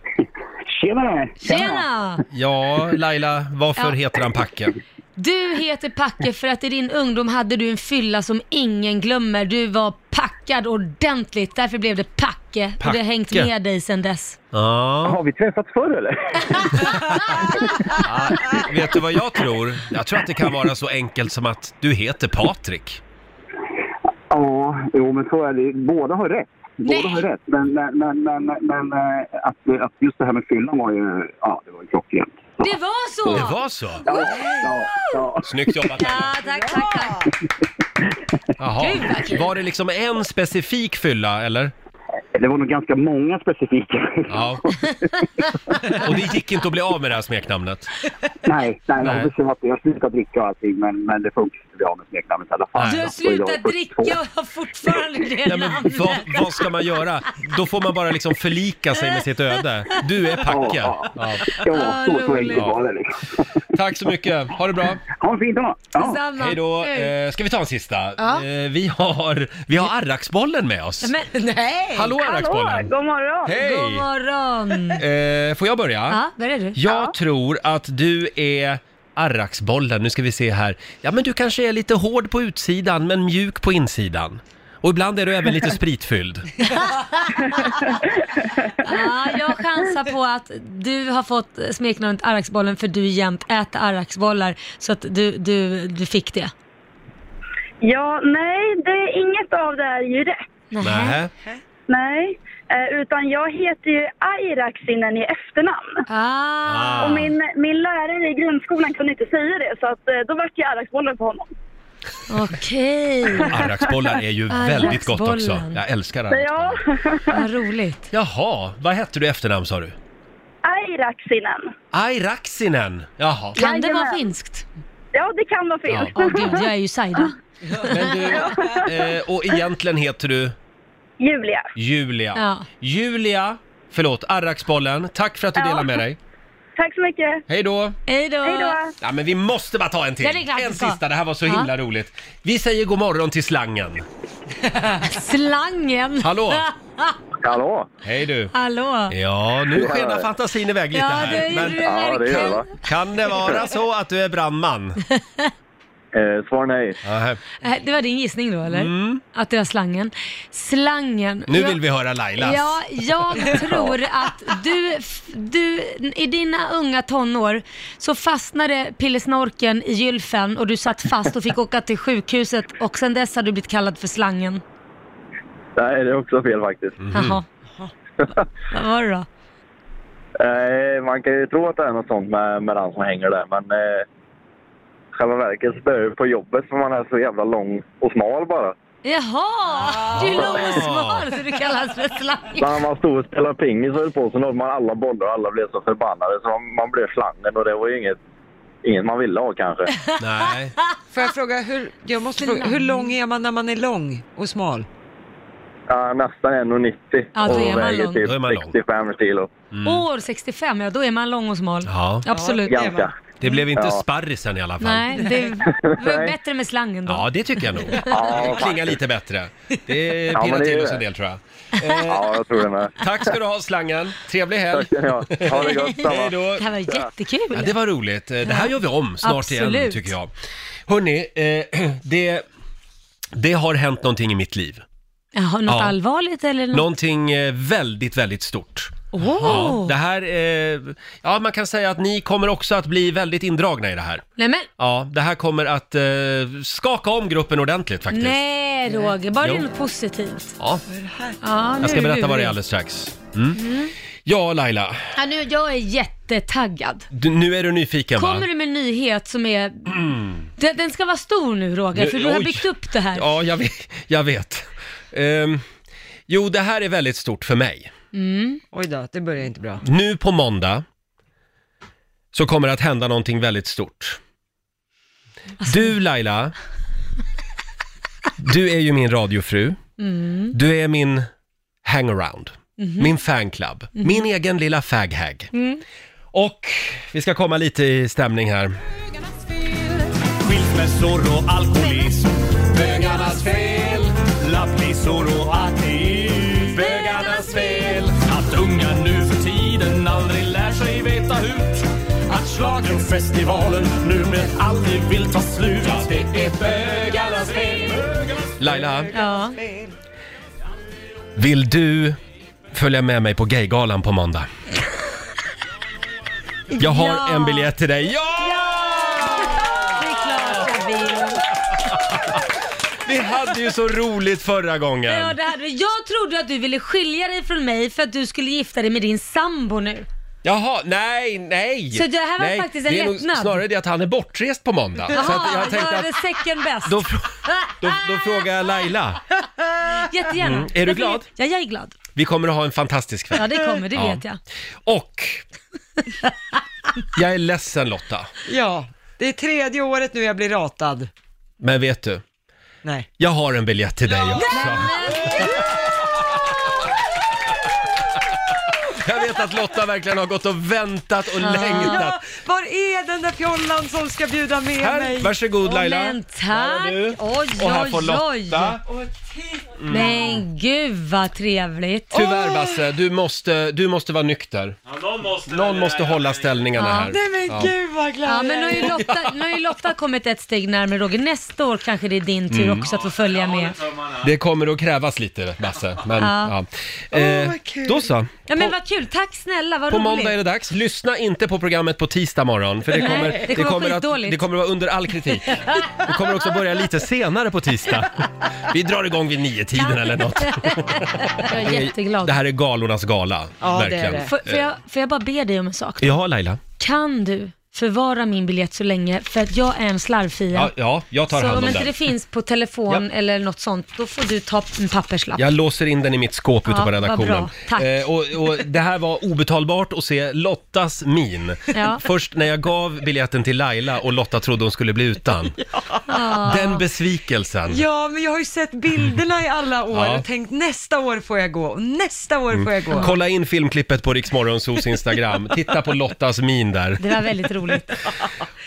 Speaker 7: Tjena!
Speaker 4: Tjena!
Speaker 1: Ja, Laila, varför
Speaker 4: Ja.
Speaker 1: heter han Packe?
Speaker 4: Du heter Packe för att i din ungdom hade du en fylla som ingen glömmer. Du var packad ordentligt, därför blev det Packe. Och det har hängt
Speaker 1: Packe.
Speaker 4: med dig sedan dess.
Speaker 1: Ja.
Speaker 7: Har vi träffats förr eller?
Speaker 1: Vet du vad jag tror? Jag tror att det kan vara så enkelt som att du heter Patrik.
Speaker 8: Ja, jo men så är det. Båda har rätt. Båda
Speaker 4: Nej.
Speaker 8: har rätt. Men, men, men, men, men eh, att, att just det här med fyllan var ju, ja det var ju klockrent.
Speaker 4: Det var så!
Speaker 1: Det var så?
Speaker 8: Ja, ja, ja.
Speaker 1: Snyggt jobbat Laila.
Speaker 4: Ja, tack, tack, tack.
Speaker 1: Jaha.
Speaker 4: Gud, vad kul.
Speaker 1: Var det liksom en specifik fylla eller?
Speaker 8: Det var nog ganska många specifika.
Speaker 1: Ja. Och det gick inte att bli av med det här smeknamnet?
Speaker 8: nej,
Speaker 1: Nej.
Speaker 8: nej, jag förstår att jag slutade dricka och allting, men, men det funkar inte att bli av med smeknamnet i alla fall.
Speaker 4: Du har
Speaker 8: Så jag är
Speaker 4: slutat
Speaker 8: 42.
Speaker 4: dricka och har fortfarande det
Speaker 1: Nej, men
Speaker 4: namnet.
Speaker 1: vad, vad ska man göra? Då får man bara liksom förlika sig med sitt öde. Du är
Speaker 8: Ja,
Speaker 1: packad.
Speaker 8: ja.
Speaker 1: Ja.
Speaker 8: Ja, så, så enkelt
Speaker 4: roligt.
Speaker 8: var det liksom.
Speaker 1: Tack så mycket. Ha det bra.
Speaker 8: Ha en fin dag! Ja.
Speaker 4: Detsamma.
Speaker 1: Hej då.
Speaker 4: Hej.
Speaker 1: Eh, ska vi ta en sista?
Speaker 4: Ja.
Speaker 1: Eh, vi har, vi har Arraksbollen med oss.
Speaker 4: Men nej!
Speaker 1: Hallå Arraksbollen!
Speaker 7: god morgon!
Speaker 4: God
Speaker 1: Hej!
Speaker 4: morgon!
Speaker 1: Eh, får jag börja?
Speaker 4: Ja, där är du.
Speaker 1: Jag tror att du är Arraksbollen, nu ska vi se här. Ja men du kanske är lite hård på utsidan men mjuk på insidan. Och ibland är du även lite spritfylld.
Speaker 4: Ja, jag chansar på att du har fått smeknamnet Arraksbollen för du jämt äter Arraksbollar så att du, du, du fick det.
Speaker 9: Ja, nej, det är inget av det här är ju rätt.
Speaker 1: Nähä.
Speaker 9: Nej, eh, utan jag heter ju Airaxinen i efternamn.
Speaker 4: Ah.
Speaker 1: Ah.
Speaker 9: Och min, min lärare i grundskolan kunde inte säga det, så att, eh, då vart jag Airaxbollen på honom.
Speaker 4: Okej,
Speaker 1: Arraksbollar är ju väldigt gott också.
Speaker 4: Arraksbollen.
Speaker 1: Jag älskar
Speaker 9: Så
Speaker 1: arraksbollar.
Speaker 9: ja,
Speaker 4: vad roligt.
Speaker 1: Jaha, vad hette du i efternamn sa du?
Speaker 9: Airaxinen.
Speaker 1: Airaksinen! Jaha.
Speaker 4: Kan det vara
Speaker 9: Jajamän.
Speaker 4: finskt?
Speaker 9: Ja, det kan vara fel.
Speaker 1: Ja.
Speaker 4: Åh gud, jag är ju Saida.
Speaker 1: Men du, eh, och egentligen heter du
Speaker 9: Julia.
Speaker 1: Julia.
Speaker 4: Ja.
Speaker 1: Julia, förlåt, Arraksbollen, tack för att du
Speaker 9: Ja.
Speaker 1: delar med dig.
Speaker 9: Tack så mycket.
Speaker 1: Hej då!
Speaker 4: Hej då!
Speaker 9: Hej då!
Speaker 1: Ja, men vi måste bara ta en till.
Speaker 4: Ja, det är klart
Speaker 1: en
Speaker 4: vi ska.
Speaker 1: sista, det här var så himla roligt. Vi säger god morgon till slangen.
Speaker 4: Slangen!
Speaker 1: Hallå.
Speaker 8: Hallå!
Speaker 1: Hej du.
Speaker 4: Hallå!
Speaker 1: Ja, nu skenar fantasin iväg lite
Speaker 4: Ja, det
Speaker 1: här.
Speaker 4: gjorde
Speaker 1: Men
Speaker 4: du verkligen.
Speaker 8: va?
Speaker 1: kan det vara så att du är brandman?
Speaker 8: Eh, svar nej.
Speaker 1: Nähä.
Speaker 4: Eh, Det var din gissning då eller? Att det var slangen. Slangen.
Speaker 1: Mm. Nu
Speaker 4: Jag-
Speaker 1: vill vi höra Lailas.
Speaker 4: Ja, jag tror att du, du, i dina unga tonår så fastnade pillesnorken i gylfen och du satt fast och fick åka till sjukhuset och sen dess har du blivit kallad för slangen.
Speaker 8: Nej, det är också fel faktiskt.
Speaker 1: Mhm. Mm.
Speaker 4: Jaha. Vad var det då?
Speaker 8: Eh, man kan ju tro att det är något sånt med, med den som hänger där, men eh, själva verket spöar på jobbet för man är så jävla lång och smal bara.
Speaker 1: Ah.
Speaker 4: Jaha! Du är lång och smal så du kallas för slangen.
Speaker 8: När man stod och spelade pingis och höll på så nådde man alla bollar och alla blev så förbannade så man, man blev slangen och det var ju inget, inget man ville ha kanske.
Speaker 1: Nej.
Speaker 2: Får jag fråga, hur, jag måste fråga, hur lång är man när man är lång och smal?
Speaker 8: Ja, nästan 1,90
Speaker 4: Ja, då är man
Speaker 8: och väger
Speaker 4: lång.
Speaker 8: typ
Speaker 1: Då är man lång.
Speaker 8: 65 kilo.
Speaker 4: År 65, ja då är man lång och smal.
Speaker 1: Mm. Ja,
Speaker 4: Absolut.
Speaker 2: Ja.
Speaker 8: Ganska.
Speaker 1: det blev inte
Speaker 8: Ja.
Speaker 1: sparrisen i alla fall.
Speaker 4: Nej, det var
Speaker 8: Nej.
Speaker 4: bättre med slangen då.
Speaker 1: Ja, det tycker jag nog.
Speaker 8: Ja,
Speaker 1: Det klingar lite bättre. Det
Speaker 8: Ja, men
Speaker 1: pirrar
Speaker 8: det är
Speaker 1: till
Speaker 8: det.
Speaker 1: oss en del tror jag.
Speaker 8: ja, jag tror det med.
Speaker 1: Tack ska du ha slangen. Trevlig helg.
Speaker 8: Tack ska ni ha. Ha det gott.
Speaker 1: Hej
Speaker 8: samma.
Speaker 1: då.
Speaker 4: Det här var jättekul.
Speaker 1: Ja, det var roligt. Eh, Det här gör vi om snart igen
Speaker 4: Absolut.
Speaker 1: tycker jag. Hörni, eh, det, det har hänt någonting i mitt liv.
Speaker 4: Mm. Jaha, något
Speaker 1: Ja.
Speaker 4: allvarligt eller något?
Speaker 1: Någonting eh, väldigt, väldigt stort.
Speaker 4: Åh!
Speaker 1: Ja, det här, eh, ja man kan säga att ni kommer också att bli väldigt indragna i det här.
Speaker 4: Nej men,
Speaker 1: Ja, det här kommer att eh, skaka om gruppen ordentligt faktiskt.
Speaker 4: nej Roger, bara det är
Speaker 1: Jo.
Speaker 4: något positivt.
Speaker 1: Ja,
Speaker 4: Ja, nu
Speaker 1: jag ska
Speaker 4: är du
Speaker 1: berätta vad det är
Speaker 4: lurig.
Speaker 1: alldeles strax. Mm. Ja, Laila,
Speaker 4: Ja, nu, jag är jättetaggad.
Speaker 1: du, nu är du nyfiken va?
Speaker 4: Kommer du med en nyhet som är... Den, den ska vara stor nu Roger,
Speaker 1: Nu-
Speaker 4: för du har
Speaker 1: oj.
Speaker 4: byggt upp det här.
Speaker 1: Ja, jag vet. Jag vet. Ehm, jo, det här är väldigt stort för mig.
Speaker 2: Oj då, det börjar inte bra.
Speaker 1: Nu på måndag så kommer det att hända någonting väldigt stort. Du Laila, du är ju min radiofru. Du är min hangaround, min fanclub, min egen lilla faghag. Och vi ska komma lite i stämning här.
Speaker 5: Skilsmässor och alkoholism Bögarnas fel Lapplisor och ateism Bögarnas fel Att unga nu för tiden aldrig lär sig veta hut Att schlagerfestivalen nu med aldrig vill ta slut Att det är bögarnas fel
Speaker 1: Laila,
Speaker 4: Ja.
Speaker 1: vill du följa med mig på Gaygalan på måndag? Jag har
Speaker 4: Ja.
Speaker 1: en biljett till dig. Ja!
Speaker 4: Det är klart jag vill.
Speaker 1: Vi hade ju så roligt förra gången.
Speaker 4: Ja, det hade vi. Jag trodde att du ville skilja dig från mig för att du skulle gifta dig med din sambo nu.
Speaker 1: Jaha, nej, nej!
Speaker 4: Så det här var
Speaker 1: nej,
Speaker 4: faktiskt en
Speaker 1: det är nog
Speaker 4: lättnad.
Speaker 1: snarare det att han är bortrest på måndag. så
Speaker 4: Jaha,
Speaker 1: att jag tänkte
Speaker 4: då är
Speaker 1: att
Speaker 4: det säcken bäst.
Speaker 1: då, fr- då, då frågar jag Laila.
Speaker 4: Jättegärna.
Speaker 1: Mm. Är du
Speaker 4: Därför-
Speaker 1: glad?
Speaker 4: Ja, jag är glad.
Speaker 1: Vi kommer att ha en fantastisk kväll.
Speaker 4: Ja, det kommer, det
Speaker 1: Ja.
Speaker 4: vet jag.
Speaker 1: Och... Jag är ledsen Lotta,
Speaker 2: Ja, det är tredje året nu jag blir ratad.
Speaker 1: men vet du?
Speaker 2: Nej.
Speaker 1: Jag har en biljett till dig också. Jag vet att Lotta verkligen har gått och väntat och
Speaker 2: Ja,
Speaker 1: längtat.
Speaker 2: var är den där fjollan som ska bjuda med
Speaker 1: Här,
Speaker 2: mig?
Speaker 1: varsågod
Speaker 4: Åh,
Speaker 1: Laila.
Speaker 4: Men
Speaker 1: Här har
Speaker 4: tack!
Speaker 1: du.
Speaker 4: Oj, oj,
Speaker 1: Och här får
Speaker 4: oj.
Speaker 1: Lotta.
Speaker 4: Men gud vad trevligt.
Speaker 1: Tyvärr Basse, du måste, du måste vara nykter.
Speaker 6: någon måste...
Speaker 1: Någon måste hålla ställningarna här.
Speaker 2: Nej men gud vad glad
Speaker 4: Ja,
Speaker 2: jag
Speaker 4: men nu har,
Speaker 2: är.
Speaker 4: ju Lotta, nu har ju Lotta kommit ett steg närmare Roger. Nästa år kanske det är din tur
Speaker 1: Mm.
Speaker 4: också att få följa med.
Speaker 1: Det kommer att krävas lite Basse, men ja.
Speaker 4: Ja.
Speaker 1: Eh,
Speaker 2: vad kul.
Speaker 1: då så.
Speaker 4: Ja, men vad kul. Tack snälla, vad
Speaker 1: På
Speaker 4: roligt.
Speaker 1: måndag är det dags. Lyssna inte på programmet på tisdag morgon, för det
Speaker 4: Nej,
Speaker 1: kommer,
Speaker 4: det kommer vara
Speaker 1: att,
Speaker 4: skitdåligt.
Speaker 1: det kommer att vara under all kritik. Det kommer också börja lite senare på tisdag. Vi drar igång vid nio tiden eller något.
Speaker 4: Jag är jätteglad.
Speaker 1: Det här är galornas gala,
Speaker 2: Ja, det är
Speaker 1: verkligen.
Speaker 2: det.
Speaker 4: Får, får, jag, får jag bara be dig om en sak?
Speaker 1: Ja, Laila.
Speaker 4: Kan du förvara min biljett så länge? För att jag är en slarvfia.
Speaker 1: Ja, ja jag tar
Speaker 4: så
Speaker 1: hand
Speaker 4: om
Speaker 1: om
Speaker 4: inte det
Speaker 1: den.
Speaker 4: finns på telefon eller något sånt, då får du ta en papperslapp.
Speaker 1: Jag låser in den i mitt skåp ute
Speaker 4: Ja,
Speaker 1: på
Speaker 4: vad
Speaker 1: redaktionen.
Speaker 4: bra. Tack.
Speaker 1: Eh, och, och det här var obetalbart att se Lottas min.
Speaker 4: Ja.
Speaker 1: Först när jag gav biljetten till Laila och Lotta trodde hon skulle bli utan. Ah. Den besvikelsen.
Speaker 2: Ja, men jag har ju sett bilderna i alla år
Speaker 1: Ja.
Speaker 2: och tänkt nästa år får jag gå och nästa år
Speaker 6: Mm.
Speaker 2: får jag gå.
Speaker 1: Kolla in filmklippet på Riksmorgonsos Instagram. Titta på Lottas min där.
Speaker 4: Det var väldigt roligt.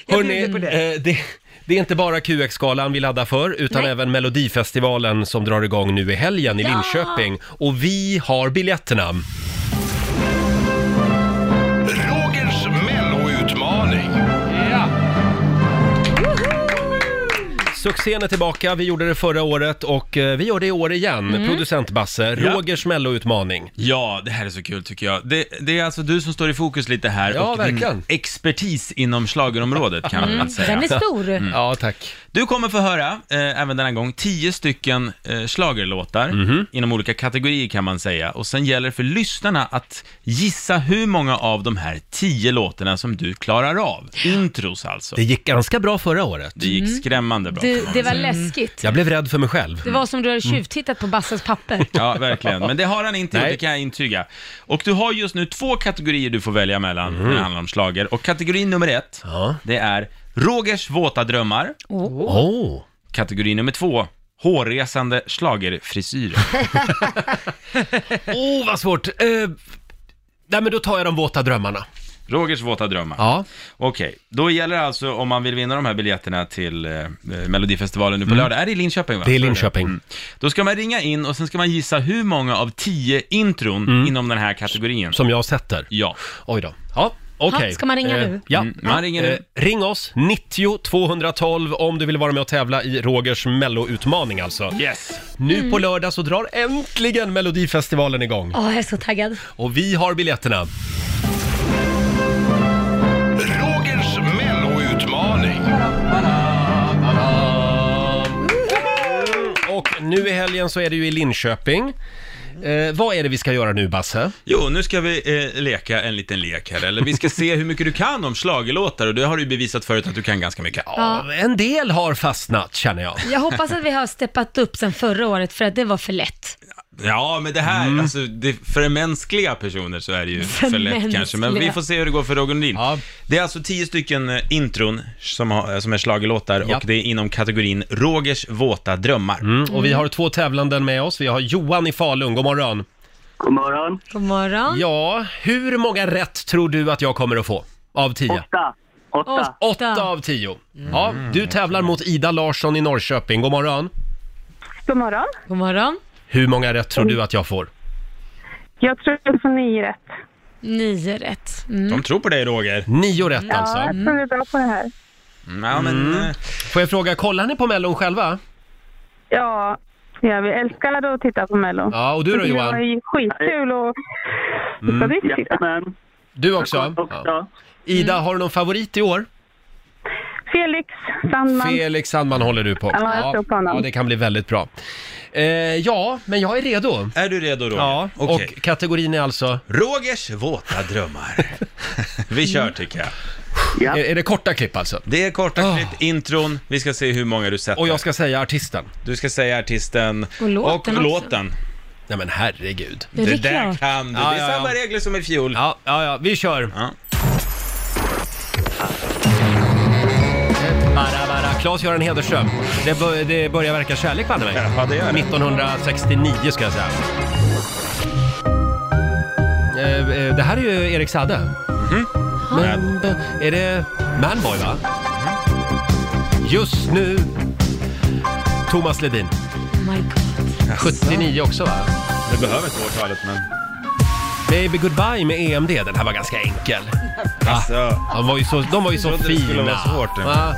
Speaker 2: Jag
Speaker 1: Hörrni,
Speaker 2: bjuder på det.
Speaker 1: eh, det, det är inte bara QX-galan vi laddar för, utan
Speaker 4: Nej.
Speaker 1: även Melodifestivalen som drar igång nu i helgen i Linköping. Och vi har biljetterna.
Speaker 5: Rogers melloutmaning.
Speaker 1: Succén är tillbaka, vi gjorde det förra året och eh, vi gör det i år igen. Producent Basse,
Speaker 6: Ja.
Speaker 1: Rogers melloutmaning.
Speaker 6: Ja, det här är så kul tycker jag. Det, det är alltså du som står i fokus lite här
Speaker 1: Ja,
Speaker 6: och
Speaker 1: verkligen.
Speaker 6: din expertis inom schlagerområdet kan man väl säga.
Speaker 4: Mm. Den är stor.
Speaker 1: Mm. Ja, tack.
Speaker 6: Du kommer få höra, eh, även denna gång, tio stycken eh, schlagerlåtar
Speaker 1: Mhm.
Speaker 6: inom olika kategorier kan man säga. Och sen gäller det för lyssnarna att gissa hur många av de här tio låtarna som du klarar av. Intros alltså.
Speaker 1: Det gick ganska bra förra året.
Speaker 6: Det gick skrämmande bra. kan
Speaker 4: Du,
Speaker 6: man
Speaker 4: det
Speaker 6: väl
Speaker 4: var
Speaker 1: Mm.
Speaker 6: säga.
Speaker 4: läskigt.
Speaker 1: Jag blev rädd för mig själv.
Speaker 4: Det var som du hade
Speaker 1: Mm.
Speaker 4: tjuvtittat på Bassas papper.
Speaker 6: Ja, verkligen. Men det har han inte gjort,
Speaker 1: Nej.
Speaker 6: det kan jag intyga. Och du har just nu två kategorier du får välja mellan när det handlar om slager. Och kategori nummer ett,
Speaker 1: Ja.
Speaker 6: det är Rogers våta drömmar.
Speaker 1: Åh! Oh.
Speaker 6: Kategori nummer två, hårresande schlagerfrisyrer.
Speaker 1: Åh, vad svårt! Eh, nej, men då tar jag de våta drömmarna.
Speaker 6: Rogers våta drömmar.
Speaker 1: Ja.
Speaker 6: Okej, då gäller det alltså om man vill vinna de här biljetterna till eh, eh, Melodifestivalen nu på lördag. Är det i Linköping? Va?
Speaker 1: Mm. Det är Linköping.
Speaker 6: mm. Då ska man ringa in och sen ska man gissa hur många av tio intron
Speaker 1: Mm.
Speaker 6: inom den här kategorin.
Speaker 1: Som jag sätter.
Speaker 6: Ja.
Speaker 1: Oj då. Ja, okej. Eh,
Speaker 4: Ja, ska man ringa nu?
Speaker 1: Ja.
Speaker 6: Mm, man ringer nu.
Speaker 1: Eh, ring oss, 90 212 om du vill vara med och tävla i Rogers melloutmaning alltså.
Speaker 6: Yes.
Speaker 1: Nu på lördag så drar äntligen Melodifestivalen igång.
Speaker 4: Åh, jag är så taggad.
Speaker 1: Och vi har biljetterna.
Speaker 5: Rogers melloutmaning.
Speaker 1: Och nu i helgen så är det ju i Linköping. Eh, vad är det vi ska göra nu Basse?
Speaker 6: Jo, nu ska vi eh, leka en liten lek här, eller vi ska se hur mycket du kan om schlagerlåtar och det har du ju bevisat förut att du kan ganska mycket.
Speaker 1: Ja. En del har fastnat känner jag.
Speaker 4: Jag hoppas att vi har steppat upp sen förra året för att det var för lätt.
Speaker 6: Ja, men det här,
Speaker 1: Mm.
Speaker 6: alltså, det, för mänskliga personer så är det ju för,
Speaker 4: För
Speaker 6: lätt
Speaker 4: mänskliga.
Speaker 6: kanske, men vi får se hur det går för Roger Nordin.
Speaker 1: Ja.
Speaker 6: Det är alltså tio stycken eh, intron som, har, eh, som är schlagerlåtar
Speaker 1: Ja.
Speaker 6: och det är inom kategorin Rogers våta drömmar.
Speaker 1: Mm. Och vi har två tävlanden med oss. Vi har Johan i Falun, god morgon.
Speaker 8: God morgon.
Speaker 4: God morgon.
Speaker 1: Ja, hur många rätt tror du att jag kommer att få? Av tio?
Speaker 8: Åtta. Åtta.
Speaker 4: Åtta.
Speaker 1: Åtta av tio. Ja, du tävlar mot Ida Larsson i Norrköping. God morgon.
Speaker 9: God morgon.
Speaker 4: God morgon.
Speaker 1: Hur många rätt tror du att jag får?
Speaker 9: Jag tror jag får nio rätt.
Speaker 4: Nio rätt. Mm.
Speaker 6: De tror på dig Roger.
Speaker 1: Nio rätt
Speaker 9: Ja,
Speaker 1: alltså.
Speaker 9: jag tror vi är bra på det här.
Speaker 6: Ja, men,
Speaker 1: Mm.
Speaker 6: eh,
Speaker 1: Får jag fråga, kollar ni på Mellon själva?
Speaker 9: Ja, ja vi älskar att titta på Mello.
Speaker 1: Ja, och du då
Speaker 9: det var
Speaker 1: Johan?
Speaker 9: ju skitkul och titta riktigt.
Speaker 8: Jajamän.
Speaker 1: Du också? Ja.
Speaker 8: Också.
Speaker 1: Ida, har du någon favorit i år?
Speaker 9: Felix Sandman.
Speaker 1: Felix Sandman håller du på.
Speaker 9: Ja, jag tror på honom.
Speaker 1: ja, det kan bli väldigt bra. Eh, ja, men jag är redo.
Speaker 6: Är du redo Roger?
Speaker 1: Ja,
Speaker 6: Okej.
Speaker 1: och kategorin är alltså?
Speaker 6: Rogers våta drömmar. Vi kör tycker jag.
Speaker 1: Är, är det korta klipp alltså?
Speaker 6: Det är korta
Speaker 1: Ah.
Speaker 6: klipp, intron, vi ska se hur många du sätter.
Speaker 1: Och jag ska säga artisten.
Speaker 6: Du ska säga artisten
Speaker 4: Och låten också.
Speaker 6: låten.
Speaker 1: Nej men herregud.
Speaker 4: är
Speaker 6: Det,
Speaker 4: det
Speaker 6: där
Speaker 4: klart.
Speaker 6: kan du.
Speaker 1: Ja,
Speaker 6: det är
Speaker 1: ja, ja.
Speaker 6: samma regler som i fjol.
Speaker 1: Ja, ja, ja, vi kör.
Speaker 6: Ja.
Speaker 1: Bara, bara. Claes-Göran Hederström. Det, bör, det börjar verka kärlek banne mig.
Speaker 6: Ja, det gör det.
Speaker 1: 1969 ska jag säga. Eh, eh, Det här är ju Erik Sade.
Speaker 6: Mhm.
Speaker 1: Men, eh, är det Manboy va? Just nu. Thomas Ledin.
Speaker 4: Oh My God.
Speaker 1: 79 också va?
Speaker 6: Du behöver inte årtalet men...
Speaker 1: Baby Goodbye med EMD. Den här var ganska enkel.
Speaker 6: Alltså,
Speaker 1: De var ju så, de var ju så
Speaker 6: Jag trodde det
Speaker 1: fina.
Speaker 6: skulle vara svårt, ja.
Speaker 1: Va?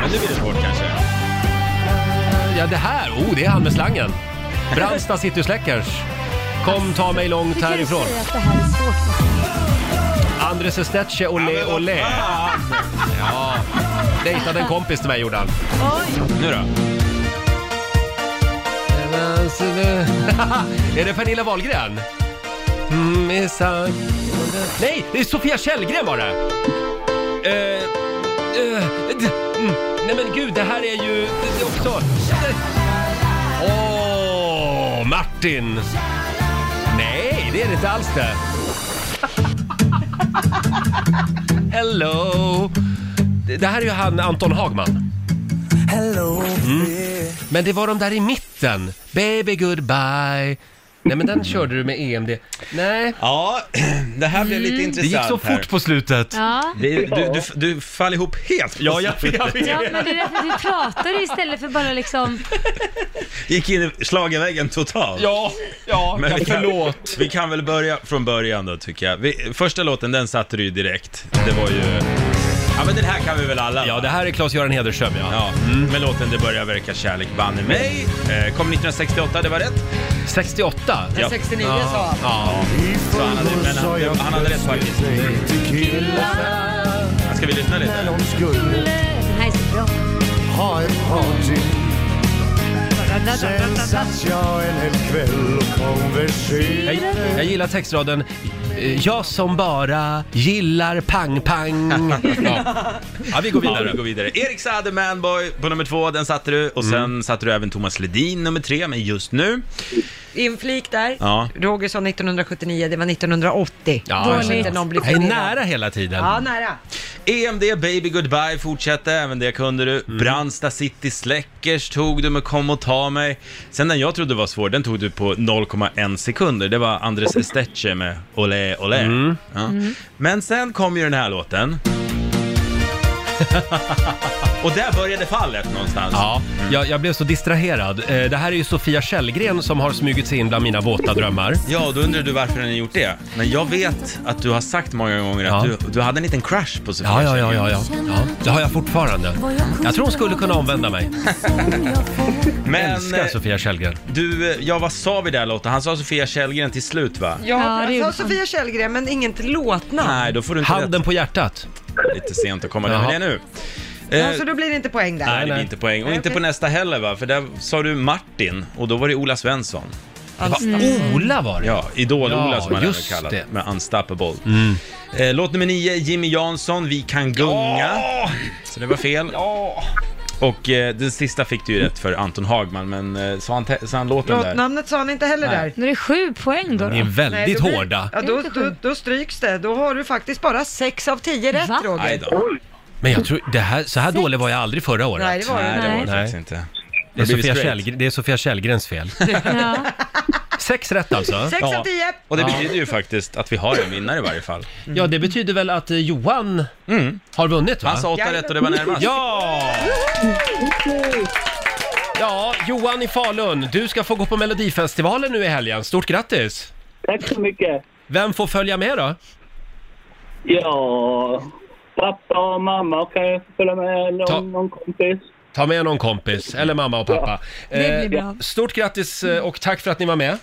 Speaker 6: men nu blir det svårt kanske.
Speaker 1: Ja, det här, oh, det är han med slangen. Brandsta City Släckers. Kom, ta mig långt
Speaker 4: Hur kan du
Speaker 1: härifrån.
Speaker 4: säga att det här är svårt?
Speaker 1: Andres Estetche, olé,
Speaker 6: Ja, men-
Speaker 1: olé.
Speaker 6: Ah,
Speaker 1: Dejtade en kompis till mig, gjorde han.
Speaker 6: Nu då?
Speaker 1: är det Pernilla Wahlgren? Mm, är sant. Nej, det är Sofia Källgren var det! Eh, eh, d- mm. Nej men gud, det här är ju det är också... Åh, Martin! Nej, det är det inte alls det. Hello! Det- Det här är ju han Anton Hagman. Mm. Men det var de där i mitten. Baby goodbye. Nej men den körde du med EMD. Nej.
Speaker 6: Ja, det här blev
Speaker 4: Mm.
Speaker 6: lite
Speaker 1: Det
Speaker 6: intressant
Speaker 1: gick så
Speaker 6: här.
Speaker 1: fort på slutet.
Speaker 4: Ja.
Speaker 6: Det, du, du, du faller ihop helt.
Speaker 1: Ja, jag vet. Jag vet.
Speaker 4: ja, men det är därför vi pratar istället för bara liksom...
Speaker 6: Gick in i schlagerväggen totalt.
Speaker 1: Ja, ja,
Speaker 6: Men vi
Speaker 1: jag,
Speaker 6: kan-
Speaker 1: förlåt.
Speaker 6: Vi kan väl börja från början då tycker jag. Vi, första låten, den satte du ju direkt. Det var ju... Ja men den här kan vi väl alla?
Speaker 1: Ja,
Speaker 6: va?
Speaker 1: det Mm. här är Claes-Göran Hederström ja.
Speaker 6: Ja, med låten Det börjar verka kärlek banne mig. Eh, kom 1968, det var rätt.
Speaker 1: 68.
Speaker 6: Ja.
Speaker 2: 69 sa han.
Speaker 1: Ja.
Speaker 6: Så han hade, men han, han hade rätt faktiskt. Ska vi lyssna lite?
Speaker 4: Den här är så bra.
Speaker 1: Jag, jag gillar textraden. eh, Jag som bara gillar pang-pang. Ja. ja, vi går
Speaker 6: Ja, vi
Speaker 1: vidare.
Speaker 6: går vidare. Erik Saade, Manboy, på nummer två, den satte du. Och sen satte du även Thomas Ledin, nummer tre, men just nu.
Speaker 2: Inflik där.
Speaker 6: Ja.
Speaker 2: Roger sa 1979, det var 1980.
Speaker 1: Ja,
Speaker 2: Då
Speaker 1: ja,
Speaker 2: kanske
Speaker 1: ja.
Speaker 2: inte någon blir
Speaker 1: Jag är
Speaker 2: förvirrad.
Speaker 1: nära hela tiden.
Speaker 2: Ja, nära.
Speaker 6: EMD, E Baby Goodbye fortsatte, även det kunde du.
Speaker 1: Mm.
Speaker 6: Brandsta City Släckers tog du med Kom och ta mig. Sen den jag trodde var svår, den tog du på 0,1 sekunder. Det var Andres Estetche med Olé Olé.
Speaker 1: Mm.
Speaker 6: Ja. Men sen kom ju den här låten. och där började fallet någonstans.
Speaker 1: Ja, jag, jag blev så distraherad. Eh, Det här är ju Sofia Källgren som har smugit sig in bland mina våta drömmar.
Speaker 6: Ja, då undrar du varför den har gjort det. Men jag vet att du har sagt många gånger
Speaker 1: Ja.
Speaker 6: att du, du hade en liten crush på
Speaker 1: Ja,
Speaker 6: Sofia
Speaker 1: ja, ja,
Speaker 6: Kjellgren.
Speaker 1: ja, ja. ja. Det har jag fortfarande. Jag tror hon skulle kunna omvända mig.
Speaker 6: Men
Speaker 1: Älskar
Speaker 6: eh,
Speaker 1: Sofia Källgren.
Speaker 6: du, eh, ja vad sa vi där Lotta? Han sa Sofia Källgren till slut va?
Speaker 4: Ja,
Speaker 2: Ja,
Speaker 4: det
Speaker 2: jag
Speaker 4: gjorde
Speaker 2: sa
Speaker 4: han.
Speaker 2: Sofia Källgren, men inget låtnamn.
Speaker 6: Nej, då får du inte
Speaker 1: Handen på hjärtat.
Speaker 6: rätt. Lite sent att komma
Speaker 1: Jaha.
Speaker 6: med det nu. Eh,
Speaker 2: Ja, så då blir det inte poäng där.
Speaker 6: Nej, det
Speaker 1: nej.
Speaker 6: blir inte poäng. Och inte
Speaker 2: okej.
Speaker 6: på nästa heller va? För där sa du Martin och då var det Ola Svensson.
Speaker 1: Ola var det.
Speaker 6: Ja, Idol-Ola
Speaker 1: Alltså. Ja,
Speaker 6: som han även
Speaker 1: just
Speaker 6: kallat.
Speaker 1: det. Mm.
Speaker 6: Med Unstoppable. Eh, låt nummer nio, Jimmy Jansson, Vi kan gunga. Så det var fel. Och eh, den sista fick du ju rätt för Anton Hagman, men eh, sa han, te- sa han låten där?
Speaker 2: Låtnamnet sa han inte heller
Speaker 6: Nej.
Speaker 2: där.
Speaker 4: Nu är det sju poäng då.
Speaker 1: Ni är
Speaker 2: Nej,
Speaker 4: då.
Speaker 1: väldigt
Speaker 2: då blir-
Speaker 1: hårda.
Speaker 2: Ja, då, då, då stryks det. Då har du faktiskt bara sex av tio rätt
Speaker 4: Va?
Speaker 2: Roger.
Speaker 6: Nej då.
Speaker 1: Men jag tror, det här, så här dålig var jag aldrig förra året.
Speaker 2: Nej, det var
Speaker 6: Nej,
Speaker 2: det
Speaker 6: det var
Speaker 4: Nej.
Speaker 6: det faktiskt inte.
Speaker 1: det, är
Speaker 6: Då blir vi
Speaker 1: Sofia
Speaker 6: straight.
Speaker 1: Källgren, det är Sofia Källgrens fel.
Speaker 4: Ja.
Speaker 1: Sex rätt alltså.
Speaker 2: Sex
Speaker 6: Ja.
Speaker 2: av tio!
Speaker 6: Och det betyder ju faktiskt att vi har en vinnare i varje fall.
Speaker 1: Ja, det betyder väl att eh, Johan har vunnit va?
Speaker 6: Han sa åtta rätt och det var närmast.
Speaker 1: Ja! Ja, Johan i Falun, du ska få gå på Melodifestivalen nu i helgen. Stort grattis!
Speaker 7: Tack så mycket.
Speaker 1: Vem får följa med då?
Speaker 7: Ja, pappa och mamma kan jag följa med eller
Speaker 1: Ta-
Speaker 7: någon kompis.
Speaker 1: Ta med någon kompis, eller mamma och pappa.
Speaker 4: Det blir
Speaker 1: Eh,
Speaker 4: bra.
Speaker 1: Stort grattis eh, och tack för att ni var med.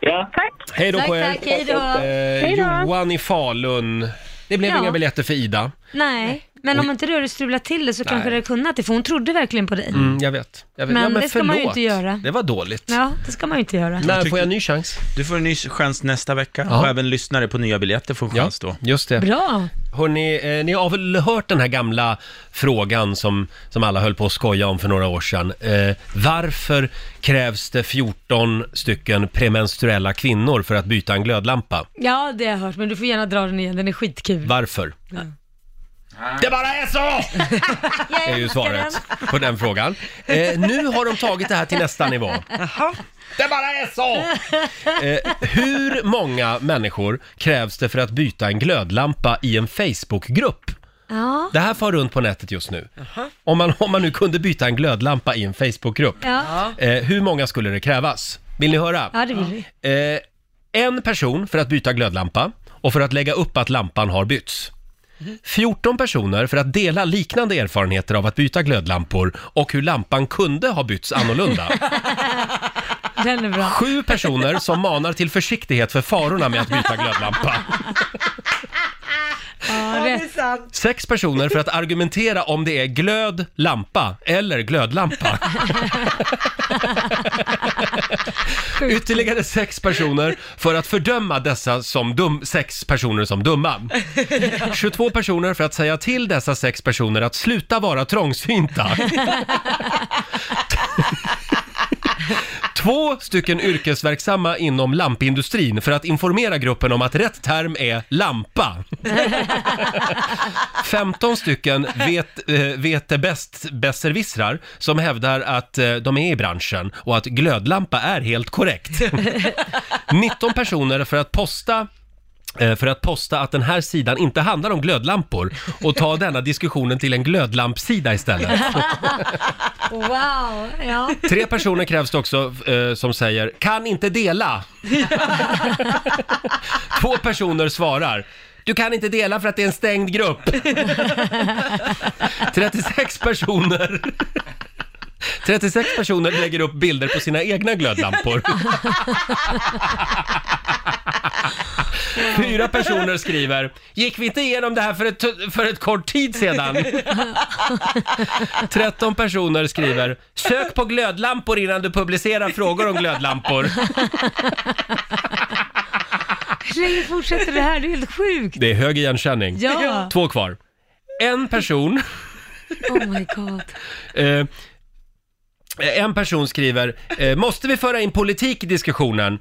Speaker 7: Ja,
Speaker 1: Hej då
Speaker 4: Tack,
Speaker 1: på er!
Speaker 4: tack. Hej då.
Speaker 1: Eh, Johan i Falun. Det blev
Speaker 4: Ja.
Speaker 1: inga biljetter för Ida.
Speaker 4: Nej, Men om inte du hade strulat till det så kanske du hade kunnat det, för hon trodde verkligen på dig.
Speaker 1: Mm, jag vet. Jag vet.
Speaker 4: Men det ska man ju inte göra.
Speaker 1: Det var dåligt.
Speaker 4: Ja, det ska man ju inte göra.
Speaker 1: När
Speaker 6: tycker-
Speaker 1: får jag en ny chans?
Speaker 6: Du får en ny chans nästa vecka
Speaker 1: Ja.
Speaker 6: och även lyssnare på nya biljetter får en chans då.
Speaker 1: just det.
Speaker 4: Bra.
Speaker 1: Hörrni, eh, ni har väl hört den här gamla frågan som, som alla höll på att skoja om för några år sedan. Eh, varför krävs det 14 stycken premenstruella kvinnor för att byta en glödlampa?
Speaker 4: Ja, det har jag hört, men du får gärna dra den igen, den är skitkul.
Speaker 1: Varför? Det bara är så! är ju svaret på den frågan. Eh, nu har de tagit det här till nästa nivå. Det bara är så! Eh, hur många människor krävs det för att byta en glödlampa i en Facebookgrupp?
Speaker 4: Ja.
Speaker 1: Det här far runt på nätet just nu. Om man, om man nu kunde byta en glödlampa i en Facebookgrupp,
Speaker 4: Ja.
Speaker 1: eh, hur många skulle det krävas? Vill ni höra?
Speaker 4: ja, det vill vi.
Speaker 1: Eh, en person för att byta glödlampa och för att lägga upp att lampan har bytts. 14 personer för att dela liknande erfarenheter av att byta glödlampor och hur lampan kunde ha bytts annorlunda.
Speaker 4: Den är bra.
Speaker 1: Sju personer som manar till försiktighet för farorna med att byta glödlampa.
Speaker 4: Ja, rätt.
Speaker 1: Sex personer för att argumentera om det är glöd, lampa eller glödlampa. Ytterligare sex personer för att fördöma dessa som dum, sex personer som dumma. 22 personer för att säga till dessa sex personer att sluta vara trångsynta. Två stycken yrkesverksamma inom lampindustrin för att informera gruppen om att rätt term är lampa. 15 stycken vet, eh, vet det bäst besserwissrar som hävdar att eh, de är i branschen och att glödlampa är helt korrekt. 19 personer för att posta eh, för att posta att den här sidan inte handlar om glödlampor och ta denna diskussionen till en glödlampsida istället.
Speaker 4: Wow, ja.
Speaker 1: Tre personer krävs det också eh, som säger “kan inte dela”. Två personer svarar “du kan inte dela för att det är en stängd grupp”. 36 personer 36 personer lägger upp bilder på sina egna glödlampor. Fyra personer skriver “gick vi inte igenom det här för ett, för ett kort tid sedan?” 13 personer skriver “Sök på glödlampor innan du publicerar frågor om glödlampor”.
Speaker 4: Hur länge fortsätter det här? Det är helt sjukt.
Speaker 1: Det är hög igenkänning.
Speaker 4: Ja.
Speaker 1: Två kvar. En person,
Speaker 4: Oh my god.
Speaker 1: eh, en person skriver eh, “Måste vi föra in politik i diskussionen?”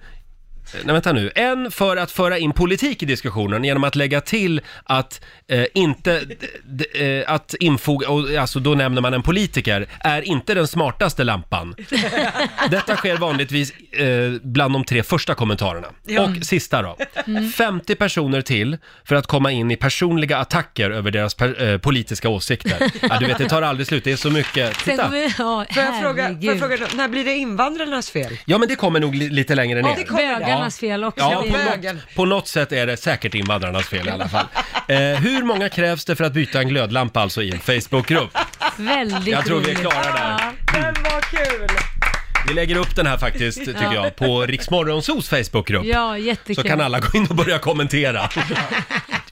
Speaker 1: Eh, Nej, vänta nu. En för att föra in politik i diskussionen genom att lägga till att eh, inte, d, d, eh, att infoga, och, alltså då nämner man en politiker, är inte den smartaste lampan. Detta sker vanligtvis eh, bland de tre första kommentarerna. Och sista då.
Speaker 4: Mm.
Speaker 1: 50 personer till för att komma in i personliga attacker över deras per, eh, politiska åsikter. Ja, du vet, det tar aldrig slut. Det är så mycket.
Speaker 4: Sen
Speaker 1: Titta.
Speaker 4: kommer vi, ja,
Speaker 2: Får jag fråga, får jag
Speaker 4: herregud.
Speaker 2: fråga då, när blir det invandrarnas fel?
Speaker 1: Ja, men det kommer nog li- lite längre ner.
Speaker 2: det kommer-
Speaker 4: Bögarnas fel också.
Speaker 1: Ja, på,
Speaker 2: bögen.
Speaker 1: något, på något sätt är det säkert invandrarnas fel i alla fall. Eh, hur många krävs det för att byta en glödlampa alltså i en Facebookgrupp?
Speaker 4: Väldigt
Speaker 1: Jag tror vi är
Speaker 4: roligt.
Speaker 1: klara där.
Speaker 4: Ja.
Speaker 2: Den var kul!
Speaker 1: Vi lägger upp den här faktiskt, tycker jag, på Riksmorgonsos Facebookgrupp.
Speaker 4: Ja,
Speaker 1: Så
Speaker 4: jättekul.
Speaker 1: kan alla gå in och börja kommentera.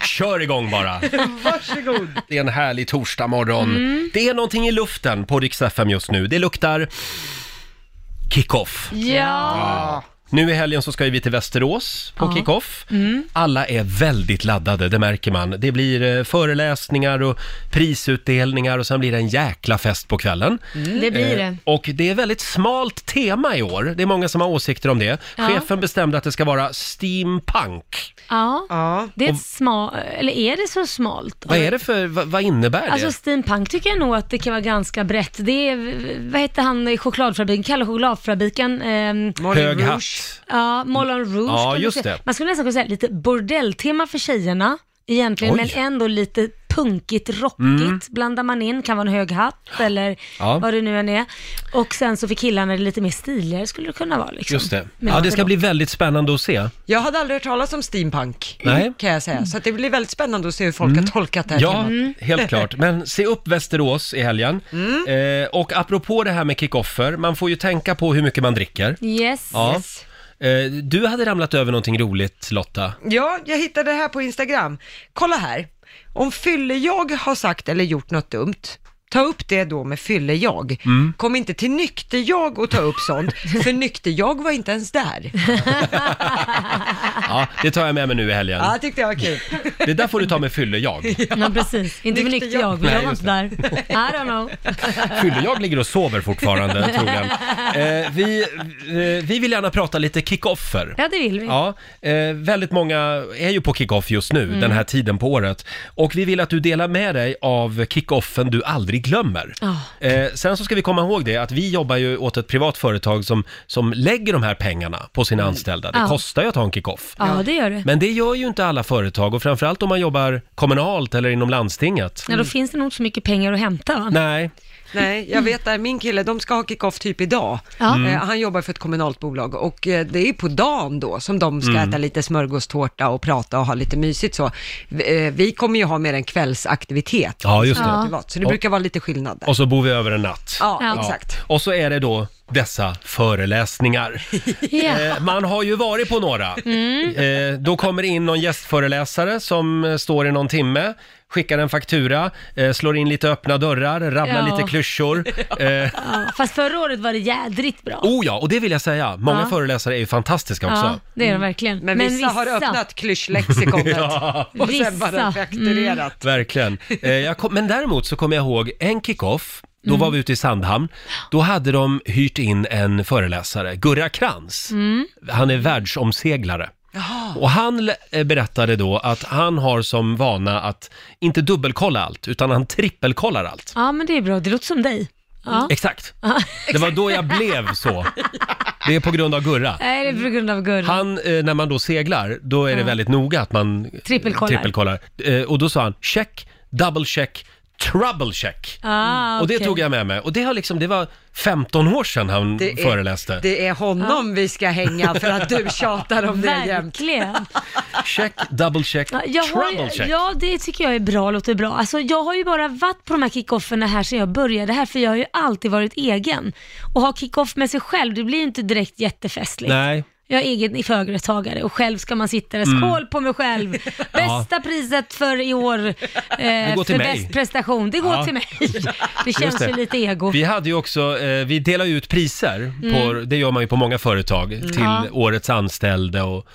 Speaker 1: Kör igång bara. Varsågod. Det är en härlig torsdag morgon. Det är någonting i luften på Rix FM just nu. Det luktar kickoff.
Speaker 4: Ja,
Speaker 1: Nu i helgen så ska ju vi till Västerås på kickoff.
Speaker 4: Mm.
Speaker 1: Alla är väldigt laddade, det märker man. Det blir eh, föreläsningar och prisutdelningar och sen blir det en jäkla fest på kvällen.
Speaker 4: det Mm. blir
Speaker 1: Eh,
Speaker 4: det.
Speaker 1: Och det är väldigt smalt tema i år. Det är många som har åsikter om det.
Speaker 4: Ja.
Speaker 1: Chefen bestämde att det ska vara steampunk.
Speaker 4: Ja,
Speaker 2: Ja.
Speaker 4: det är ett smalt, eller är det så smalt?
Speaker 1: Vad är det för, vad, vad innebär det?
Speaker 4: Alltså steampunk tycker jag nog att det kan vara ganska brett. Det är, vad hette han i chokladfabriken, Kalle chokladfabriken, ehm,
Speaker 2: Moulin
Speaker 1: Hög
Speaker 2: Rouge.
Speaker 1: hatt.
Speaker 4: ja, Moulin Rouge.
Speaker 1: Ja,
Speaker 4: kan man
Speaker 1: just
Speaker 4: säga.
Speaker 1: det.
Speaker 4: Man skulle nästan kunna säga lite bordelltema för tjejerna egentligen,
Speaker 1: Oj. Mm.
Speaker 4: men ändå lite punkigt, rockigt blandar man in. Kan vara en hög hatt eller
Speaker 1: Ja.
Speaker 4: vad det nu än är. Och sen så för killarna är det lite mer stiligare skulle det kunna vara. Liksom.
Speaker 1: Just det.
Speaker 4: Men
Speaker 1: Ja, det ska
Speaker 4: vadå?
Speaker 1: bli väldigt spännande att se.
Speaker 2: Jag hade aldrig hört talas om steampunk,
Speaker 1: Nej. Mm.
Speaker 2: kan jag säga. Så att det blir väldigt spännande att se hur folk har tolkat det här
Speaker 1: Ja,
Speaker 2: temat.
Speaker 4: Mm.
Speaker 1: helt klart. Men se upp Västerås i helgen. Eh, och apropå det här med kickoffer, man får ju tänka på hur mycket man dricker.
Speaker 4: Yes.
Speaker 1: Ja. Eh, Du hade ramlat över någonting roligt Lotta.
Speaker 2: Ja, jag hittade det här på Instagram. Kolla här. Om fylle-jag har sagt eller gjort något dumt, ta upp det då med fylle-jag.
Speaker 1: Mm.
Speaker 2: Kom inte till nykter-jag och ta upp sånt, för nykter-jag var inte ens där.
Speaker 1: Ja, det tar jag med mig nu i helgen.
Speaker 2: Ja, tyckte jag var kul.
Speaker 1: Det där får du ta med fylle-jag.
Speaker 4: Ja, precis. Inte med
Speaker 2: Nykter
Speaker 4: nykter jag, men
Speaker 1: Nej,
Speaker 4: jag var
Speaker 1: just
Speaker 4: inte där. I don't know.
Speaker 1: Fylle-jag ligger och sover fortfarande troligen. Eh, vi, eh, vi vill gärna prata lite kick-offer.
Speaker 4: Ja, det vill vi.
Speaker 1: Ja, eh, väldigt många är ju på kick-off just
Speaker 4: Mm.
Speaker 1: nu, den här tiden på året. Och vi vill att du delar med dig av kick-offen du aldrig glömmer.
Speaker 4: Ja.
Speaker 1: Eh, sen så ska vi komma ihåg det att vi jobbar ju åt ett privat företag som, som lägger de här pengarna på sina anställda. Det
Speaker 4: Mm. Ja.
Speaker 1: kostar ju att ha en kick-off.
Speaker 4: Ja, det gör det.
Speaker 1: Men det gör ju inte alla företag och framförallt om man jobbar kommunalt eller inom landstinget.
Speaker 4: Ja, då finns det nog inte så mycket pengar att hämta va?
Speaker 1: Nej,
Speaker 2: Nej, jag vet där, min kille, de ska ha kick-off typ idag.
Speaker 4: Ja. Mm.
Speaker 2: Eh, han jobbar för ett kommunalt bolag och eh, det är på dagen då som de
Speaker 1: Mm.
Speaker 2: ska äta lite smörgåstårta och prata och ha lite mysigt så. Vi, eh, vi kommer ju ha mer en kvällsaktivitet.
Speaker 1: ja just det.
Speaker 4: Ja.
Speaker 2: privat, Så det brukar vara lite skillnad där.
Speaker 1: Och så bor vi över en natt.
Speaker 2: Ja,
Speaker 4: Ja.
Speaker 2: exakt.
Speaker 1: Och så är det då dessa föreläsningar.
Speaker 4: Ja.
Speaker 1: Eh, Man har ju varit på några.
Speaker 4: Mm.
Speaker 1: Eh, Då kommer in någon gästföreläsare som eh, står i någon timme, skickar en faktura, eh, slår in lite öppna dörrar, rabblar
Speaker 4: Ja.
Speaker 1: lite klyschor. Eh,
Speaker 4: Ja, Fast förra året var det jädrigt bra.
Speaker 1: Oh ja, och det vill jag säga, många
Speaker 4: Ja.
Speaker 1: föreläsare är ju fantastiska
Speaker 4: Ja,
Speaker 1: också. Mm.
Speaker 4: det är de verkligen.
Speaker 2: Men vissa, har öppnat klyschlexikonet
Speaker 1: Ja.
Speaker 2: och sen
Speaker 4: Vissa.
Speaker 2: bara fakturerat.
Speaker 1: Verkligen. Eh, jag kom, men däremot så kommer jag ihåg en kick-off, då var vi ute i Sandhamn. Då hade de hyrt in en föreläsare, Gurra Krantz. Han är världsomseglare. Och han l- eh, berättade då att han har som vana att inte dubbelkolla allt, utan han trippelkollar allt.
Speaker 4: Ja, men det är bra. Det låter som dig. Ja.
Speaker 1: Exakt. Det var då jag blev så. Det är på grund av Gurra.
Speaker 4: Nej, det är på grund av Gurra.
Speaker 1: Mm. Han, eh, när man då seglar, då är det väldigt noga att man
Speaker 4: Mm. Trippelkollar.
Speaker 1: trippelkollar. Eh, och då sa han check, double check, trouble check.
Speaker 4: Ah,
Speaker 1: Och det
Speaker 4: okej.
Speaker 1: tog jag med mig. Och det, har liksom, det var 15 år sedan han
Speaker 2: Det är-
Speaker 1: Mm. föreläste.
Speaker 2: Det är honom vi ska hänga för att du tjatar om det jämt.
Speaker 4: Verkligen.
Speaker 1: Check, double check,
Speaker 4: Ja, Jag
Speaker 1: trouble
Speaker 4: har,
Speaker 1: check.
Speaker 4: ja, det tycker jag är bra, låter bra. Alltså, jag har ju bara varit på de här kickofferna här sedan jag började här, för jag har ju alltid varit egen. Och ha kickoff med sig själv, det blir ju inte direkt jättefestligt.
Speaker 1: Nej, Mm.
Speaker 4: Jag är egen företagare och själv ska man sitta där. Skål på mig själv! Bästa priset för i år eh,
Speaker 1: går till
Speaker 4: för
Speaker 1: mig.
Speaker 4: bäst prestation, det går
Speaker 1: Ja.
Speaker 4: till mig. Det
Speaker 1: Just
Speaker 4: känns
Speaker 1: det.
Speaker 4: ju lite ego.
Speaker 1: vi hade ju också, eh, vi delar ju ut priser, på, det gör man ju på många företag, till
Speaker 4: Mm. Ja.
Speaker 1: årets anställde och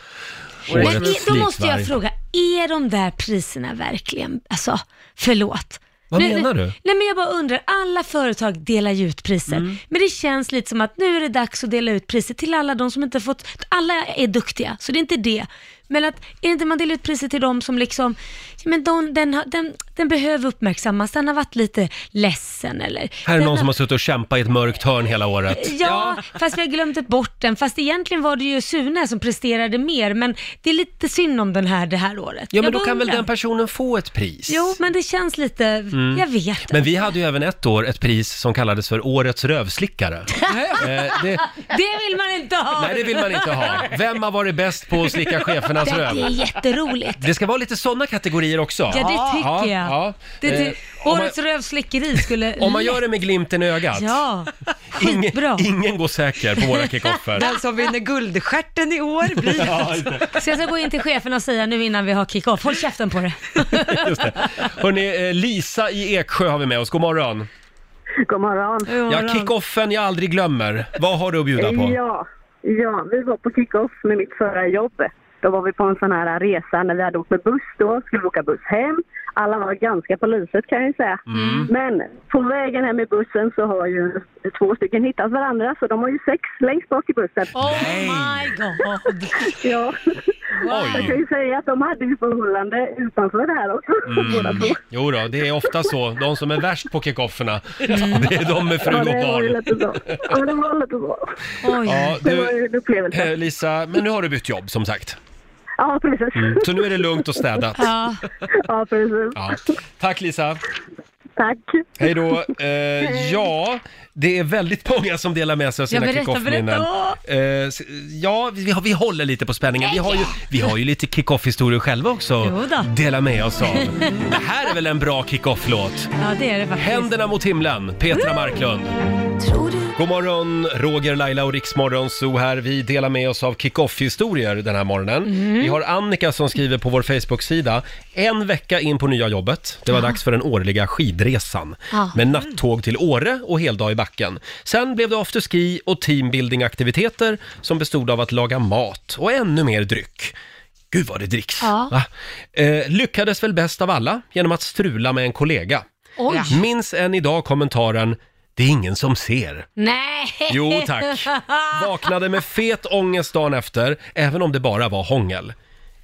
Speaker 4: Men
Speaker 1: årets
Speaker 4: är, då måste
Speaker 1: likvarg.
Speaker 4: jag fråga, är de där priserna verkligen, alltså förlåt.
Speaker 1: Vad
Speaker 4: Nu-
Speaker 1: menar du?
Speaker 4: Nej men jag bara undrar, alla företag delar ju ut priser.
Speaker 1: Mm.
Speaker 4: Men det känns lite som att nu är det dags att dela ut priser till alla de som inte fått, alla är duktiga, så det är inte det. Men att, är det inte man delar ut priser till de som liksom, ja, men de, den, har- den, den behöver uppmärksammas, den har varit lite ledsen eller...
Speaker 1: Här är
Speaker 4: den
Speaker 1: någon
Speaker 4: har-
Speaker 1: som har suttit och kämpat i ett mörkt hörn hela året.
Speaker 4: Ja, fast vi har glömt ett bort den. Fast egentligen var det ju Sune som presterade mer, men det är lite synd om den här det här året.
Speaker 1: Ja, men
Speaker 4: Jag
Speaker 1: då
Speaker 4: bara
Speaker 1: kan väl
Speaker 4: undrar.
Speaker 1: den personen få ett pris?
Speaker 4: Jo, men det känns lite, jag vet
Speaker 1: Men vi hade ju även ett år ett pris som kallades för Årets rövslickare. eh, det,
Speaker 4: Det vill man inte ha!
Speaker 1: nej, det vill man inte ha. Vem har varit bäst på att slicka chefernas
Speaker 4: det, det är
Speaker 1: röv?
Speaker 4: jätteroligt.
Speaker 1: Det ska vara lite sådana kategorier också.
Speaker 4: Ja, det tycker jag.
Speaker 1: ja.
Speaker 4: Det, ty-
Speaker 1: Eh, om, man,
Speaker 4: årets rövslickeri skulle...
Speaker 1: om man gör det med glimten i ögat.
Speaker 4: Ja,
Speaker 1: ingen,
Speaker 4: skitbra.
Speaker 1: ingen går säker på våra kickoffer.
Speaker 2: Den som vinner guldstjärten i år blir...
Speaker 4: Så jag ska gå in till chefen och säga nu innan vi har kick-off, håll käften på det.
Speaker 1: Just det. Hörrni, eh, Lisa i Eksjö har vi med oss. God morgon.
Speaker 9: God morgon.
Speaker 1: Ja, kickoffen jag aldrig glömmer. Vad har du att bjuda på?
Speaker 9: Ja, ja, vi var på kick-off med mitt förra jobb. Då var vi på en sån här resa när vi hade åkt med buss då, skulle vi åka buss hem. Alla var ganska på lyset kan jag ju säga.
Speaker 1: Mm.
Speaker 9: Men på vägen hem i bussen så har ju två stycken hittat varandra så de har ju sex längst bak i bussen.
Speaker 4: Oh my god.
Speaker 9: Ja, jag kan
Speaker 1: Oj.
Speaker 9: ju säga att de hade ju förhållande utanför det här också.
Speaker 1: Mm.
Speaker 9: båda två.
Speaker 1: Jo då, det är ofta så. De som är värst på kickofferna, det är de med fru
Speaker 9: Ja,
Speaker 1: och
Speaker 9: det var ju
Speaker 1: barn.
Speaker 9: lite så. Ja, det var lite så.
Speaker 4: Oj.
Speaker 1: Ja,
Speaker 9: Det var ju
Speaker 1: du,
Speaker 9: en upplevelse.
Speaker 1: eh, Lisa, men nu har du bytt jobb som sagt.
Speaker 9: Ja, precis.
Speaker 1: Så nu är det lugnt och städat.
Speaker 4: Ja.
Speaker 9: Ja, precis.
Speaker 1: Mm. Ja. Tack Lisa.
Speaker 9: Tack.
Speaker 1: Hej då. Eh, ja, det är väldigt många som delar med sig av sina
Speaker 4: Ja, berätta,
Speaker 1: kickoff-minnen. Eh, s- ja, vi, har- vi håller lite på spänningen. Vi har ju, vi har ju lite kickoff-historier själva också
Speaker 4: Jo då.
Speaker 1: att dela med oss av. Det här är väl en bra kickoff-låt?
Speaker 4: ja, det är det faktiskt.
Speaker 1: Händerna mot himlen, Petra Marklund.
Speaker 3: Mm. Tror du
Speaker 1: God morgon, Roger, Laila och Riksmorgon Zoo här. Vi delar med oss av kick-off-historier den här morgonen.
Speaker 3: Mm.
Speaker 1: Vi har Annika som skriver på vår Facebook-sida. En vecka in på nya jobbet, det var dags för den årliga skidresan.
Speaker 3: Ah.
Speaker 4: Ja.
Speaker 1: Med nattåg till Åre och heldag i backen. Sen blev det afterski och teambuilding-aktiviteter som bestod av att laga mat och ännu mer dryck. Gud vad det dricks!
Speaker 4: Ja.
Speaker 1: va? Eh, lyckades väl bäst av alla genom att strula med en kollega.
Speaker 4: Oj!
Speaker 1: Minns än idag kommentaren “Det är ingen som ser”.
Speaker 4: Nej!
Speaker 1: Jo tack. Vaknade med fet ångest dagen efter, även om det bara var hångel.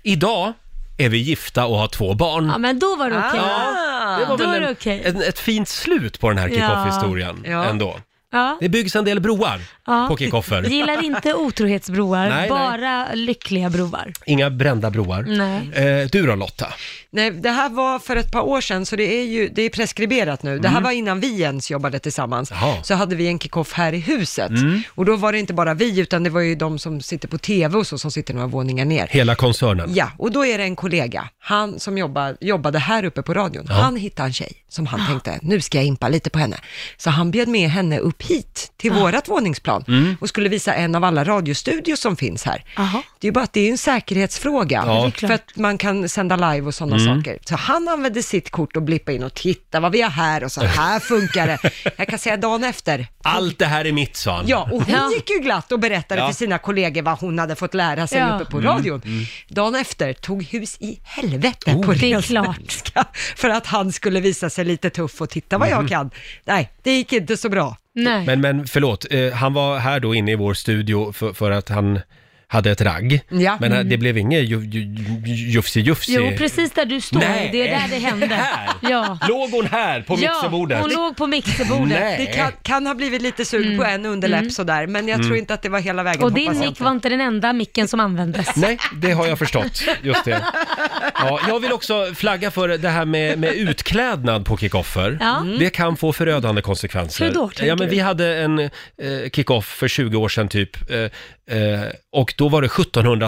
Speaker 1: Idag är vi gifta och har två barn.
Speaker 4: Ja men då var det
Speaker 1: Ah.
Speaker 4: okej.
Speaker 1: Ja, det var
Speaker 4: Då är
Speaker 1: väl
Speaker 4: det
Speaker 1: en,
Speaker 4: okej.
Speaker 1: en, ett fint slut på den här kick-off-historien
Speaker 2: Ja.
Speaker 1: ändå.
Speaker 4: Ja.
Speaker 1: Det byggs en del broar
Speaker 4: Ja.
Speaker 1: på kick-offer.
Speaker 4: Gillar inte otrohetsbroar,
Speaker 1: Nej, nej.
Speaker 4: bara lyckliga broar.
Speaker 1: Inga brända broar.
Speaker 4: Nej.
Speaker 1: Eh, du då Lotta?
Speaker 2: Nej, det här var för ett par år sedan, så det är ju det är preskriberat nu. Det här var innan vi ens jobbade tillsammans.
Speaker 1: Jaha.
Speaker 2: Så hade vi en kick-off här i huset. Och då var det inte bara vi, utan det var ju de som sitter på tv och så, som sitter några våningar ner.
Speaker 1: Hela koncernen.
Speaker 2: Ja, och då är det en kollega, han som jobbar, jobbade här uppe på radion, han hittade en tjej som han tänkte, nu ska jag impa lite på henne. Så han bjöd med henne upp hit till vårat våningsplan och skulle visa en av alla radiostudios som finns här.
Speaker 4: Aha.
Speaker 2: Det är ju bara att det är en säkerhetsfråga,
Speaker 1: Ja. Det är
Speaker 4: klart.
Speaker 2: för att man kan sända live och sådana saker. Så han använde sitt kort och blippade in och titta vad vi har här och så här funkar det. Jag kan säga dagen efter,
Speaker 1: Allt det här är mitt sa han.
Speaker 2: Ja, och hon
Speaker 4: Ja.
Speaker 2: gick ju glatt och berättade
Speaker 1: Ja. Mm.
Speaker 2: för sina kollegor vad hon hade fått lära sig
Speaker 4: Ja.
Speaker 2: uppe på radion. Dagen efter tog hus i helvete
Speaker 1: Oh.
Speaker 2: på
Speaker 4: det är
Speaker 2: ren
Speaker 4: klart.
Speaker 2: svenska för att han skulle visa sig lite tuff och titta vad
Speaker 1: Mm.
Speaker 2: jag kan. Nej, det gick inte så bra.
Speaker 4: Nej.
Speaker 1: Men, men förlåt, eh, han var här då inne i vår studio för, för att han hade ett ragg.
Speaker 2: Ja.
Speaker 1: Men eh, det blev inget ju- ju- ju- jufsi-jufsi.
Speaker 4: Mm. Jo, precis där du står.
Speaker 1: Nej.
Speaker 4: Det är där det hände.
Speaker 1: Här.
Speaker 4: Ja.
Speaker 1: Låg hon här på
Speaker 4: Ja,
Speaker 1: mixerbordet?
Speaker 4: hon låg på mixerbordet.
Speaker 1: Nej.
Speaker 2: Det kan, kan ha blivit lite sug på en underläpp sådär, men jag
Speaker 1: Mm.
Speaker 2: tror inte att det var hela vägen.
Speaker 4: Mm. Och
Speaker 2: hoppas jag
Speaker 4: din mick
Speaker 2: inte.
Speaker 4: var inte den enda micken som användes.
Speaker 1: Nej, det har jag förstått. Just det. Ja, jag vill också flagga för det här med, med utklädnad på kickoffer. Mm.
Speaker 4: Ja.
Speaker 1: Det kan få förödande konsekvenser.
Speaker 4: Hur då, tänker
Speaker 1: ja, men
Speaker 4: du?
Speaker 1: vi hade en eh, kickoff för 20 år sedan typ eh, eh, och då var det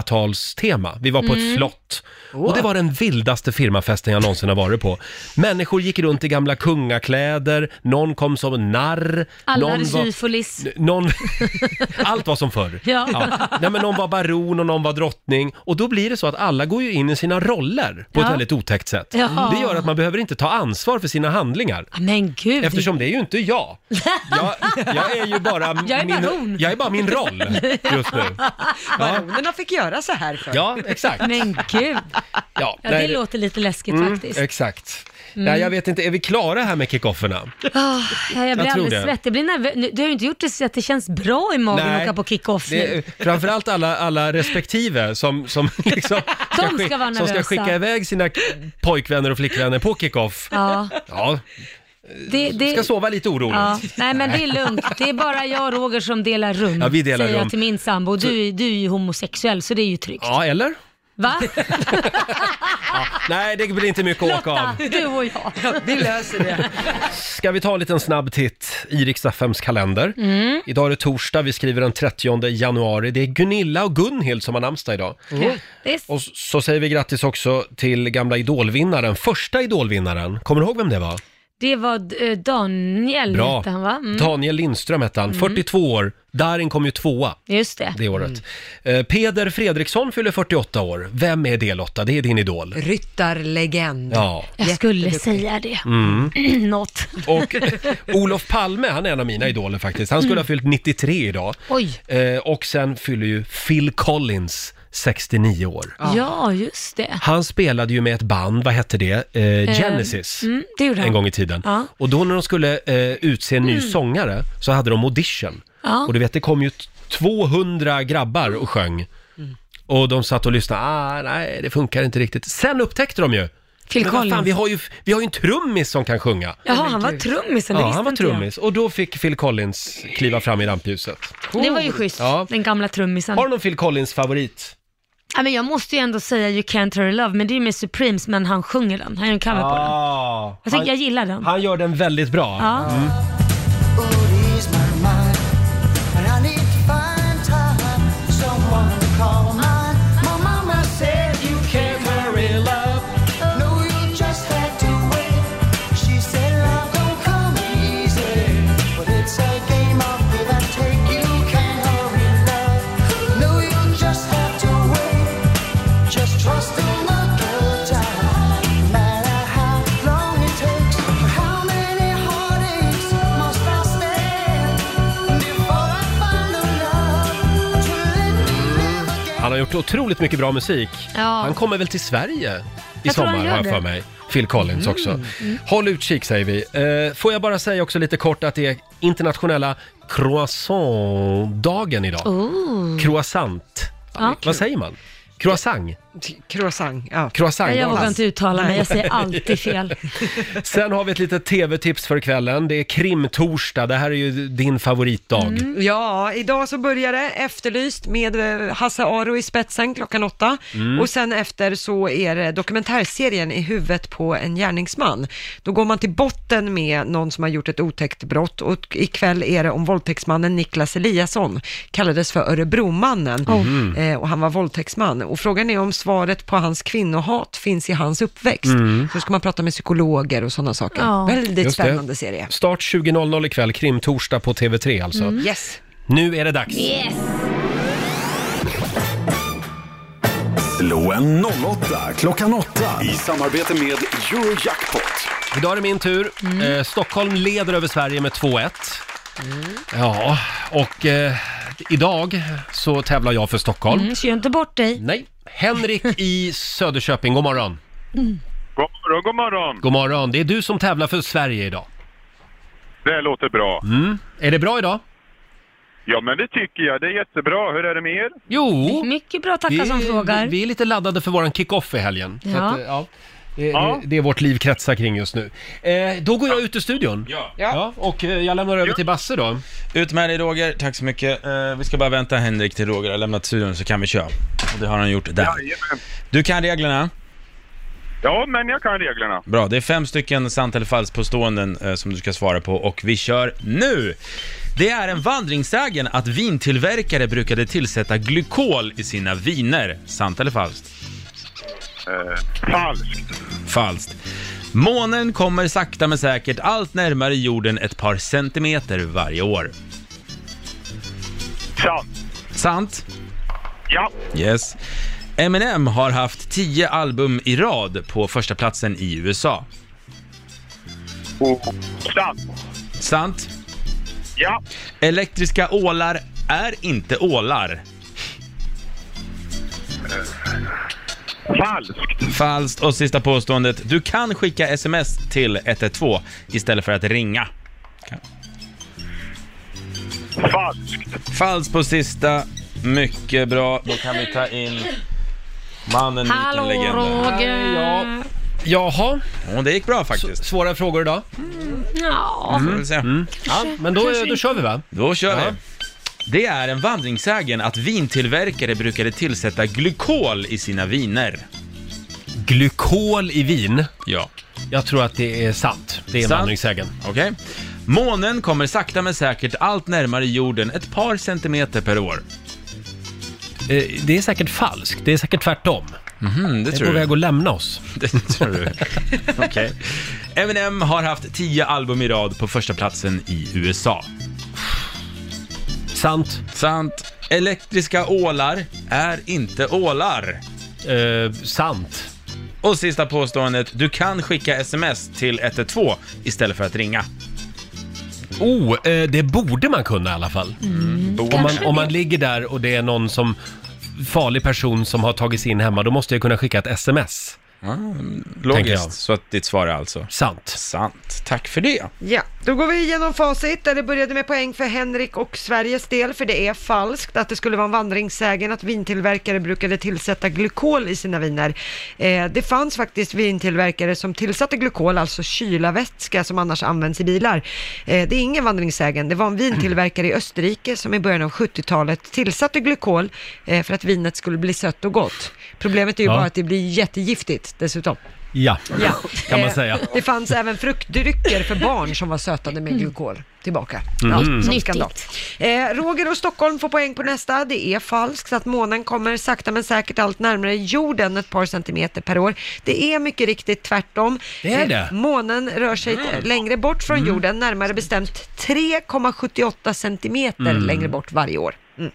Speaker 1: 1700-talstema. Vi var på
Speaker 4: Mm.
Speaker 1: ett slott och det var den vildaste firmafesten jag någonsin har varit på. Människor gick runt i gamla kungakläder, någon kom som narr.
Speaker 4: Alla
Speaker 1: någon
Speaker 4: hade
Speaker 1: var-
Speaker 4: syfilis.
Speaker 1: någon... Allt var som förr.
Speaker 4: Ja.
Speaker 1: Nej, men någon var baron och någon var drottning. Och då blir det så att alla går ju in i sina roller på ett
Speaker 4: Ja.
Speaker 1: väldigt otäckt sätt.
Speaker 4: Ja.
Speaker 1: Det gör att man behöver inte ta ansvar för sina handlingar.
Speaker 4: Ah, Men gud.
Speaker 1: Eftersom det är ju inte jag. Jag, jag är ju bara,
Speaker 4: Jag är baron.
Speaker 1: min, jag är bara min roll just nu.
Speaker 2: Baronerna fick göra så här för.
Speaker 1: Ja, exakt.
Speaker 4: Men gud.
Speaker 1: Ja,
Speaker 4: Ja, det
Speaker 1: nej, Mm,
Speaker 4: låter lite läskigt faktiskt. Mm.
Speaker 1: Exakt. Nej, jag vet inte, är vi klara här med kickofferna?
Speaker 4: Ah, ja, jag blir
Speaker 1: tror
Speaker 4: alldeles
Speaker 1: det.
Speaker 4: svettig. Jag blir nervös. Nu- Du har ju inte gjort det så att det känns bra i magen att åka på kick-off
Speaker 1: det-
Speaker 4: nu.
Speaker 1: Framförallt alla, alla respektive som, som, liksom
Speaker 4: ska
Speaker 1: skick-
Speaker 4: vara
Speaker 1: som ska
Speaker 4: nervösa.
Speaker 1: skicka iväg sina k- pojkvänner och flickvänner på kickoff.
Speaker 4: Ja,
Speaker 1: Ja,
Speaker 4: det, det,
Speaker 1: ska sova lite oroligt.
Speaker 4: Ja. Nej men det är lugnt. Det är bara jag och Roger som delar rum.
Speaker 1: Ja, vi delar
Speaker 4: säger
Speaker 1: rum.
Speaker 4: jag till min sambo. Du, du är ju homosexuell så det är ju tryggt.
Speaker 1: Ja, eller?
Speaker 4: Va?
Speaker 1: Nej, det blir inte mycket att åka
Speaker 4: Lotta,
Speaker 1: av.
Speaker 4: du och jag.
Speaker 2: Vi löser det.
Speaker 1: Ska vi ta en liten snabb titt i riksdagsfems kalender?
Speaker 4: Mm.
Speaker 1: Idag är det torsdag, vi skriver den 30 januari. Det är Gunilla och Gunhild som har namnsdag idag.
Speaker 4: Grattis.
Speaker 1: Och så säger vi grattis också till gamla idolvinnaren, första idolvinnaren. Kommer du ihåg vem det var?
Speaker 4: Det var eh, Daniel
Speaker 1: Bra.
Speaker 4: hette han va? Mm.
Speaker 1: Daniel Lindström hette han, 42 år. Darin kom ju tvåa
Speaker 4: Just det.
Speaker 1: det året. Eh, Peder Fredriksson fyller 48 år. Vem är det Lotta? Det är din idol.
Speaker 2: Ryttarlegend.
Speaker 1: Ja.
Speaker 4: Jag skulle säga det.
Speaker 1: Mm.
Speaker 4: Något.
Speaker 1: Och Olof Palme, han är en av mina idoler faktiskt. Han skulle
Speaker 4: Mm.
Speaker 1: ha fyllt 93 idag.
Speaker 4: Oj.
Speaker 1: Eh, och sen fyller ju Phil Collins 69 år.
Speaker 4: Ja, just det.
Speaker 1: Han spelade ju med ett band, vad hette det? Eh, Genesis.
Speaker 4: Mm, det gjorde han.
Speaker 1: en gång i tiden.
Speaker 4: Ja. Mm.
Speaker 1: Och då när de skulle eh, utse en ny sångare så hade de audition.
Speaker 4: Ja.
Speaker 1: Och du vet, det kom ju t- 200 grabbar och sjöng.
Speaker 4: Mm.
Speaker 1: Och de satt och lyssnade, ah, nej det funkar inte riktigt. Sen upptäckte de ju,
Speaker 4: Phil
Speaker 1: men vad fan,
Speaker 4: Collins.
Speaker 1: vi har ju, vi har ju en trummis som kan sjunga.
Speaker 4: Jaha, han var trummisen, det
Speaker 1: Ja,
Speaker 4: visste
Speaker 1: han var
Speaker 4: inte jag.
Speaker 1: trummis. Och då fick Phil Collins kliva fram i rampljuset.
Speaker 4: Det var ju schysst,
Speaker 1: Ja.
Speaker 4: den gamla trummisen.
Speaker 1: Har du någon Phil Collins-favorit?
Speaker 4: Ja, men jag måste ju ändå säga You Can't Hurt Her Love, men det är ju med Supremes, men han sjunger den. Han gör en cover på den.
Speaker 1: Ah,
Speaker 4: Jag, tycker, jag
Speaker 1: han,
Speaker 4: gillar den.
Speaker 1: han gör den väldigt bra.
Speaker 4: Ja.
Speaker 5: She said love don't come easy, but it's a game of give and
Speaker 1: gjort otroligt mycket bra musik.
Speaker 4: Ja.
Speaker 1: Han kommer väl till Sverige i
Speaker 4: Jag tror han
Speaker 1: sommar
Speaker 4: gör
Speaker 1: har jag
Speaker 4: det. Mm.
Speaker 1: för mig. Phil Collins också. Håll utkik säger vi. Eh, får jag bara säga också lite kort att det är internationella croissant-dagen idag.
Speaker 4: Ooh.
Speaker 1: Croissant.
Speaker 4: Ja.
Speaker 1: Vad säger man? Croissant?
Speaker 2: Croissant, ja.
Speaker 1: Croissant.
Speaker 4: Jag vågar inte uttala mig, jag säger alltid fel.
Speaker 1: Sen har vi ett litet tv-tips för kvällen. Det är krimtorsdag. Det här är ju din favoritdag.
Speaker 4: Mm.
Speaker 2: Ja, idag så börjar det Efterlyst med eh, Hasse Aro i spetsen klockan åtta.
Speaker 1: Mm.
Speaker 2: Och sen efter så är det dokumentärserien I huvudet på en gärningsman. Då går man till botten med någon som har gjort ett otäckt brott och ikväll är det om våldtäktsmannen Niklas Eliasson, kallades för Örebromannen
Speaker 1: Mm.
Speaker 2: eh, och han var våldtäktsman. Och frågan är om svaret på hans kvinnohat finns i hans uppväxt. Så ska man prata med psykologer och sådana saker.
Speaker 4: Ja.
Speaker 2: Väldigt
Speaker 1: Mm. Just det.
Speaker 2: spännande serie.
Speaker 1: Start 20.00 ikväll, krimtorsdag på TV3 alltså.
Speaker 4: Mm.
Speaker 2: Yes.
Speaker 1: Nu är det dags.
Speaker 3: Yes!
Speaker 5: Slå en 08 klockan 8 i samarbete med Eurojackpot.
Speaker 1: Idag är det min tur. Eh, Stockholm leder över Sverige med 2-1. Ja, och eh, idag så tävlar jag för Stockholm.
Speaker 4: Mm, så gör inte bort dig.
Speaker 1: Nej, Henrik i Söderköping, god morgon.
Speaker 8: God morgon, god morgon.
Speaker 1: God morgon, det är du som tävlar för Sverige idag. Mm.
Speaker 8: Det låter bra.
Speaker 1: Är det bra idag?
Speaker 8: Ja, men det tycker jag. Det är jättebra. Hur är det med er?
Speaker 1: Jo,
Speaker 4: Mycket bra tackar som frågar.
Speaker 1: vi är lite laddade för våran kick-off i helgen. Så
Speaker 4: Ja.
Speaker 1: att, eh, ja. Det,
Speaker 8: Ja.
Speaker 1: det, det är vårt liv kretsar kring just nu. Eh, då går jag ut ur studion.
Speaker 6: Ja.
Speaker 1: Ja, och eh, jag lämnar över till Basse då.
Speaker 6: Ut med dig Roger, tack så mycket. Eh, vi ska bara vänta Henrik till Roger har lämnat studion så kan vi köra. Och det har han gjort där.
Speaker 8: Jajamän.
Speaker 6: Du kan reglerna.
Speaker 8: Ja, men jag kan reglerna.
Speaker 6: Bra, det är fem stycken sant eller falskt påståenden eh, som du ska svara på och vi kör nu! Det är en vandringssägen att vintillverkare brukade tillsätta glykol i sina viner. Sant eller falskt?
Speaker 8: Eh, falskt.
Speaker 6: Falskt. Månen kommer sakta men säkert allt närmare jorden ett par centimeter varje år.
Speaker 8: Sant.
Speaker 6: Sant?
Speaker 8: Ja.
Speaker 6: Yes. Eminem har haft tio album i rad på första platsen i USA.
Speaker 8: Och sant.
Speaker 6: Sant?
Speaker 8: Ja.
Speaker 6: Elektriska ålar är inte ålar.
Speaker 8: Falskt.
Speaker 6: Falskt. Och sista påståendet. Du kan skicka sms till 112 istället för att ringa.
Speaker 8: Falskt.
Speaker 6: Falskt på sista. Mycket bra. Då kan vi ta in mannen, myten,
Speaker 4: Hallå
Speaker 6: legenden.
Speaker 4: Roger!
Speaker 1: Jaha,
Speaker 6: Och det gick bra faktiskt. Mm.
Speaker 1: svåra frågor idag.
Speaker 4: Ja.
Speaker 6: Får vi se.
Speaker 4: Mm.
Speaker 1: Ja, men då, då kör vi va?
Speaker 6: Då kör
Speaker 1: Ja.
Speaker 6: vi. Det är en vandringssägen att vintillverkare brukade tillsätta glykol i sina viner.
Speaker 1: Glykol i vin.
Speaker 6: Ja.
Speaker 1: Jag tror att det är sant. Det är en
Speaker 6: Sant?
Speaker 1: vandringssägen.
Speaker 6: Okej. Månen kommer sakta men säkert allt närmare jorden ett par centimeter per år.
Speaker 1: Eh, Det är säkert falskt. Det är säkert tvärtom.
Speaker 6: Mm, det
Speaker 1: Det är på
Speaker 6: tror jag.
Speaker 1: väg att lämna oss.
Speaker 6: Det tror du. Okej. Eminem har haft tio album i rad på första platsen i USA.
Speaker 1: Sant.
Speaker 6: Sant. Elektriska ålar är inte ålar.
Speaker 1: Eh, sant.
Speaker 6: Och sista påståendet, du kan skicka sms till 112 istället för att ringa.
Speaker 1: Oh, eh, det borde man kunna i alla fall.
Speaker 2: Mm.
Speaker 1: Mm. Om, man, om man ligger där och det är någon som farlig person som har tagit sig in hemma, då måste jag kunna skicka ett sms. Tänker jag.
Speaker 6: Logiskt, så att ditt svar är alltså
Speaker 1: Sant.
Speaker 6: sant. Tack för det.
Speaker 2: Ja, då går vi igenom facit där det började med poäng för Henrik och Sveriges del, för det är falskt att det skulle vara en vandringssägen att vintillverkare brukade tillsätta glykol i sina viner. Eh, det fanns faktiskt vintillverkare som tillsatte glykol, alltså kylarvätska som annars används i bilar. Eh, det är ingen vandringssägen, det var en vintillverkare i Österrike som i början av 70-talet tillsatte glykol eh, för att vinet skulle bli sött och gott. Problemet är ju
Speaker 1: Ja.
Speaker 2: bara att det blir jättegiftigt dessutom.
Speaker 1: Ja,
Speaker 2: Ja.
Speaker 1: kan man
Speaker 2: Eh,
Speaker 1: säga.
Speaker 2: Det fanns även fruktdrycker för barn som var sötade med glykol. Tillbaka. Ja, som skandal. Eh, Roger och Stockholm får poäng på nästa. Det är falskt att månen kommer sakta men säkert allt närmare jorden ett par centimeter per år. Det är mycket riktigt tvärtom. Eh,
Speaker 1: Det Mm. är det.
Speaker 2: månen rör sig längre bort från jorden, närmare bestämt 3,78 centimeter längre bort varje år. Mm.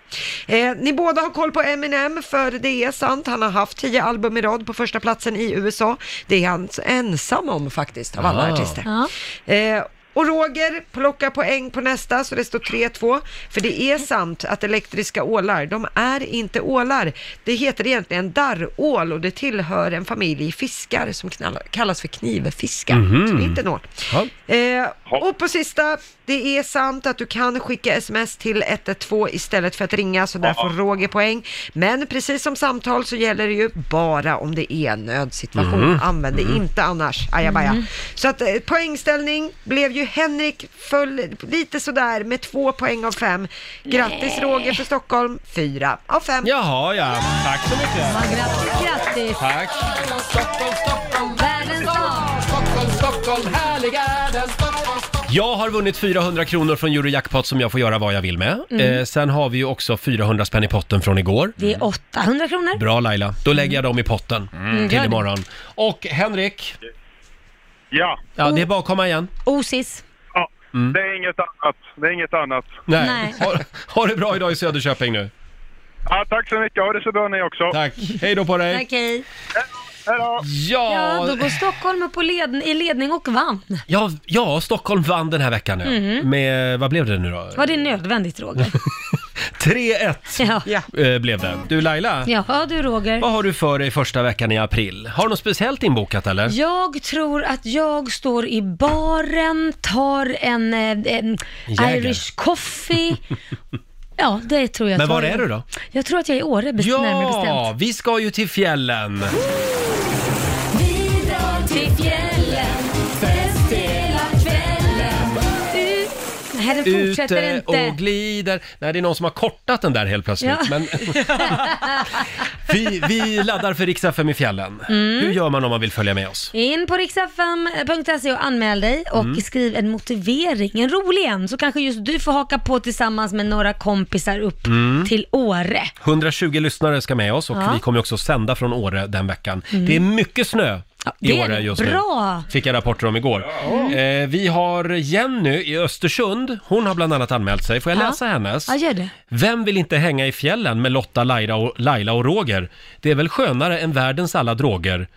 Speaker 2: Eh, ni båda har koll på Eminem, för det är sant. Han har haft tio album i rad på första platsen i USA. Det är han ensam om faktiskt, av alla
Speaker 1: Ah.
Speaker 2: artister.
Speaker 4: Ja.
Speaker 2: Eh, Och Roger plockar poäng på nästa så det står 3-2. För det är sant att elektriska ålar, de är inte ålar. Det heter egentligen darrål och det tillhör en familj i fiskar som knall- kallas för knivfiskar.
Speaker 1: Mhm.
Speaker 2: Så det är inte en ål.
Speaker 1: Ja.
Speaker 2: Eh, och på sista, det är sant att du kan skicka sms till 112 istället för att ringa, så där får Roger poäng. Men precis som samtal så gäller det ju bara om det är en nödsituation.
Speaker 1: Mhm.
Speaker 2: Använd det inte annars, ajabaja. Så att eh, poängställning blev ju Henrik föll lite sådär med två poäng av fem. Grattis Roger för Stockholm, fyra av fem.
Speaker 1: Jaha, ja. Tack så mycket.
Speaker 4: Grat- Grattis!
Speaker 1: Tack.
Speaker 4: Världens dag!
Speaker 1: Jag har vunnit 400 kronor från Eurojackpot som jag får göra vad jag vill med.
Speaker 2: Mm.
Speaker 1: Eh, sen har vi ju också 400 spänn i potten från igår.
Speaker 4: Det är 800 kronor. Mm,
Speaker 1: Bra Laila, då lägger jag dem i potten till
Speaker 2: Mm.
Speaker 4: Gör det.
Speaker 1: imorgon. Och Henrik,
Speaker 5: Ja,
Speaker 1: ja, det är bara att komma igen.
Speaker 4: Osis.
Speaker 5: ja. det är inget annat. Det är inget annat.
Speaker 1: Nej.
Speaker 4: Nej.
Speaker 1: Ha, ha det bra idag i Söderköping nu.
Speaker 5: Ja, tack så mycket. Ha det så bra ni också.
Speaker 1: Tack, hej då på dig.
Speaker 4: Okej.
Speaker 5: Hej då!
Speaker 4: Ja,
Speaker 1: Ja,
Speaker 4: då går Stockholm upp på led i ledning och vann.
Speaker 1: ja, ja, Stockholm vann den här veckan nu.
Speaker 4: Mhm.
Speaker 1: Med, vad blev det nu då?
Speaker 4: Var det nödvändigt Roger?
Speaker 1: 3-1
Speaker 4: Ja.
Speaker 2: Ja.
Speaker 1: eh, blev det. Du Laila,
Speaker 4: Ja du Roger.
Speaker 1: vad har du för dig första veckan i april? Har du något speciellt inbokat eller?
Speaker 4: Jag tror att jag står i baren, tar en, eh, en
Speaker 1: Jäger.
Speaker 4: Irish coffee. ja, det tror jag.
Speaker 1: Men
Speaker 4: tror
Speaker 1: var
Speaker 4: jag.
Speaker 1: är du då?
Speaker 4: Jag tror att jag är i Åre, best- närmare
Speaker 1: Ja,
Speaker 4: bestämt.
Speaker 1: vi ska ju till fjällen.
Speaker 3: Vi drar till fjällen, fest hela kvällen.
Speaker 4: Ut. Nej, det fortsätter
Speaker 1: Ute
Speaker 4: inte.
Speaker 1: och glider. Nej, det är någon som har kortat den där helt plötsligt.
Speaker 4: Ja.
Speaker 1: Men... vi, vi laddar för riks FM i fjällen.
Speaker 4: Mm.
Speaker 1: Hur gör man om man vill följa med oss?
Speaker 4: In på riksfm.se och anmäl dig och
Speaker 1: Mm.
Speaker 4: skriv en motivering, en rolig en, så kanske just du får haka på tillsammans med några kompisar upp
Speaker 1: Mm.
Speaker 4: till Åre.
Speaker 1: 120 lyssnare ska med oss och
Speaker 4: Ja. Mm.
Speaker 1: vi kommer också sända från Åre den veckan. Det är mycket snö
Speaker 4: Ja,
Speaker 1: i
Speaker 4: det är
Speaker 1: Åre just
Speaker 4: bra. Mm.
Speaker 1: nu. Fick jag rapporter om igår. Eh, vi har Jenny i Östersund. Hon har bland annat anmält sig. Får jag
Speaker 4: Ja.
Speaker 1: läsa hennes?
Speaker 4: Ja, gör det.
Speaker 1: Vem vill inte hänga i fjällen med Lotta, Laila och, Laila och Roger? Det är väl skönare än världens alla droger.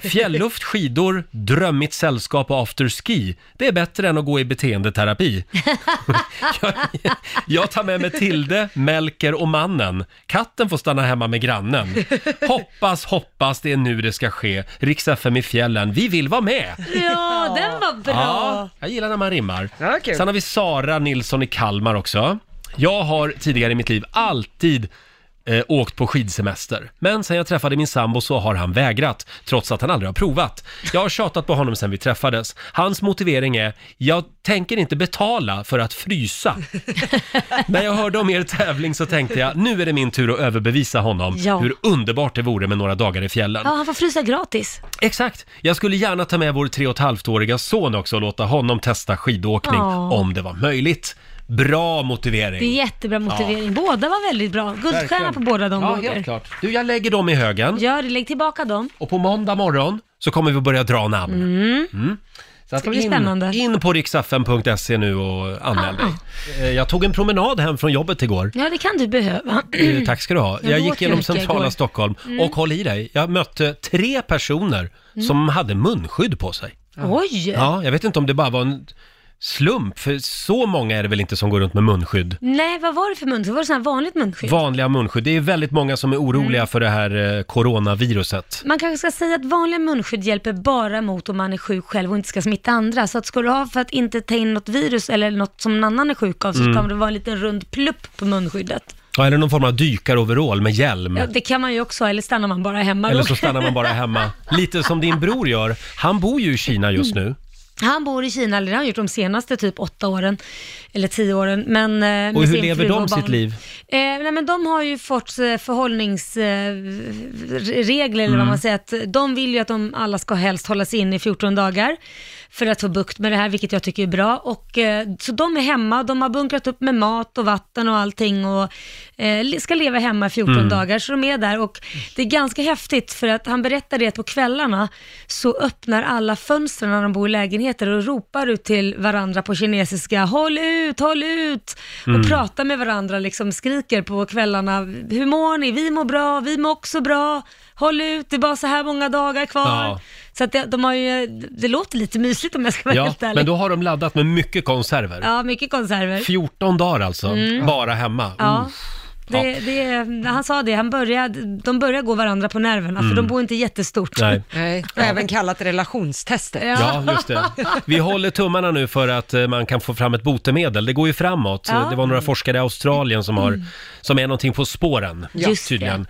Speaker 1: Fjällluft, skidor, drömmigt sällskap och afterski. Det är bättre än att gå i beteendeterapi. jag, jag tar med mig Tilde, Melker och mannen. Katten får stanna hemma med grannen. Hoppas, hoppas det är nu det ska ske. Rix FM i fjällen. Vi vill vara med!
Speaker 4: Ja, den var bra.
Speaker 1: Ja, jag gillar när man rimmar.
Speaker 2: Ja, kul.
Speaker 1: Sen har vi Sara Nilsson i Kalmar också. Jag har tidigare i mitt liv alltid eh, åkt på skidsemester. Men sen jag träffade min sambo så har han vägrat, trots att han aldrig har provat. Jag har tjatat på honom sen vi träffades. Hans motivering är, jag tänker inte betala för att frysa. När jag hörde om er tävling så tänkte jag, nu är det min tur att överbevisa honom
Speaker 4: Ja.
Speaker 1: hur underbart det vore med några dagar i fjällen.
Speaker 4: Ja, han får frysa gratis.
Speaker 1: Exakt. Jag skulle gärna ta med vår tre och ett halvt-åriga son också och låta honom testa skidåkning
Speaker 4: Ja.
Speaker 1: om det var möjligt. Bra
Speaker 4: Det är
Speaker 1: motivering.
Speaker 4: jättebra motivering. Båda var väldigt bra. Guldstjärna
Speaker 1: Mm. Verkligen.
Speaker 4: på båda de
Speaker 1: Ja,
Speaker 4: Roger.
Speaker 1: helt klart. Du, jag lägger dem i högen
Speaker 4: Gör det, lägg tillbaka dem.
Speaker 1: och på måndag morgon så kommer vi börja dra namn. Mm. Så att
Speaker 4: Det blir spännande. Ah,
Speaker 1: in, in på riksfn.se nu och anmäl dig. Eh, Jag tog en promenad hem från jobbet igår.
Speaker 4: Ja, det kan du behöva.
Speaker 1: Eh, Tack ska du ha.
Speaker 4: Jag
Speaker 1: Jag
Speaker 4: åt
Speaker 1: gick
Speaker 4: ju
Speaker 1: genom
Speaker 4: mycket
Speaker 1: centrala
Speaker 4: igår. Mm.
Speaker 1: Stockholm och håll i dig, jag mötte tre personer som hade munskydd på sig.
Speaker 4: Oj!
Speaker 1: Ja, jag vet inte om det bara var en slump, för så många är det väl inte som går runt med munskydd.
Speaker 4: Nej, vad var det för munskydd? Var det sån här vanligt munskydd?
Speaker 1: Vanliga munskydd. Det är väldigt många som är oroliga
Speaker 4: Mm.
Speaker 1: för det här eh, coronaviruset.
Speaker 4: Man kanske ska säga att vanliga munskydd hjälper bara mot om man är sjuk själv och inte ska smitta andra. Så att ska du ha för att inte ta in något virus eller något som någon annan är sjuk av så
Speaker 1: Mm.
Speaker 4: ska det vara en liten rund plupp på munskyddet.
Speaker 1: Ja, eller någon form av dykaroverall med hjälm.
Speaker 4: Ja, det kan man ju också ha, eller stannar man bara hemma.
Speaker 1: Eller
Speaker 4: Roger.
Speaker 1: så stannar man bara hemma. Lite som din bror gör. Han bor ju i Kina just
Speaker 4: Mm.
Speaker 1: nu.
Speaker 4: Han bor i Kina, eller det har han gjort de senaste typ åtta åren, eller tio åren. Men, eh, med
Speaker 1: hur
Speaker 4: sin
Speaker 1: lever
Speaker 4: fru
Speaker 1: de
Speaker 4: och barn.
Speaker 1: sitt liv?
Speaker 4: Eh, nej, men de har ju fått eh, förhållningsregler, eller
Speaker 1: Mm.
Speaker 4: vad man säger, att de vill ju att de alla ska helst hålla sig inne i 14 dagar för att få bukt med det här, vilket jag tycker är bra. Och, eh, så de är hemma, de har bunkrat upp med mat och vatten och allting och eh, le- ska leva hemma i 14
Speaker 1: Mm.
Speaker 4: dagar, så de är där. Och det är ganska häftigt, för att han berättade att på kvällarna så öppnar alla fönstren när de bor i lägenheter och ropar ut till varandra på kinesiska, håll ut, håll ut,
Speaker 1: Mm.
Speaker 4: och pratar med varandra, liksom skriker på kvällarna, hur mår ni? Vi mår bra, vi mår också bra, håll ut, det är bara så här många dagar kvar.
Speaker 1: Ja.
Speaker 4: Så att det, de har ju, det låter lite mysigt om jag ska vara
Speaker 1: Ja,
Speaker 4: helt ärlig.
Speaker 1: men då har de laddat med mycket konserver.
Speaker 4: Ja, mycket konserver.
Speaker 1: 14 dagar alltså,
Speaker 4: Mm.
Speaker 1: bara hemma.
Speaker 4: Ja.
Speaker 1: Uff.
Speaker 4: Det, det, han sa det, han började, de börjar gå varandra på nerverna
Speaker 1: Mm.
Speaker 4: för de bor inte jättestort.
Speaker 1: Nej.
Speaker 2: Nej, och även kallat relationstester.
Speaker 1: Ja, just det. Vi håller tummarna nu för att eh, man kan få fram ett botemedel. Det går ju framåt.
Speaker 4: Ja.
Speaker 1: Det var några forskare i Australien som, har, som är någonting på spåren,
Speaker 4: Ja. Just
Speaker 1: tydligen.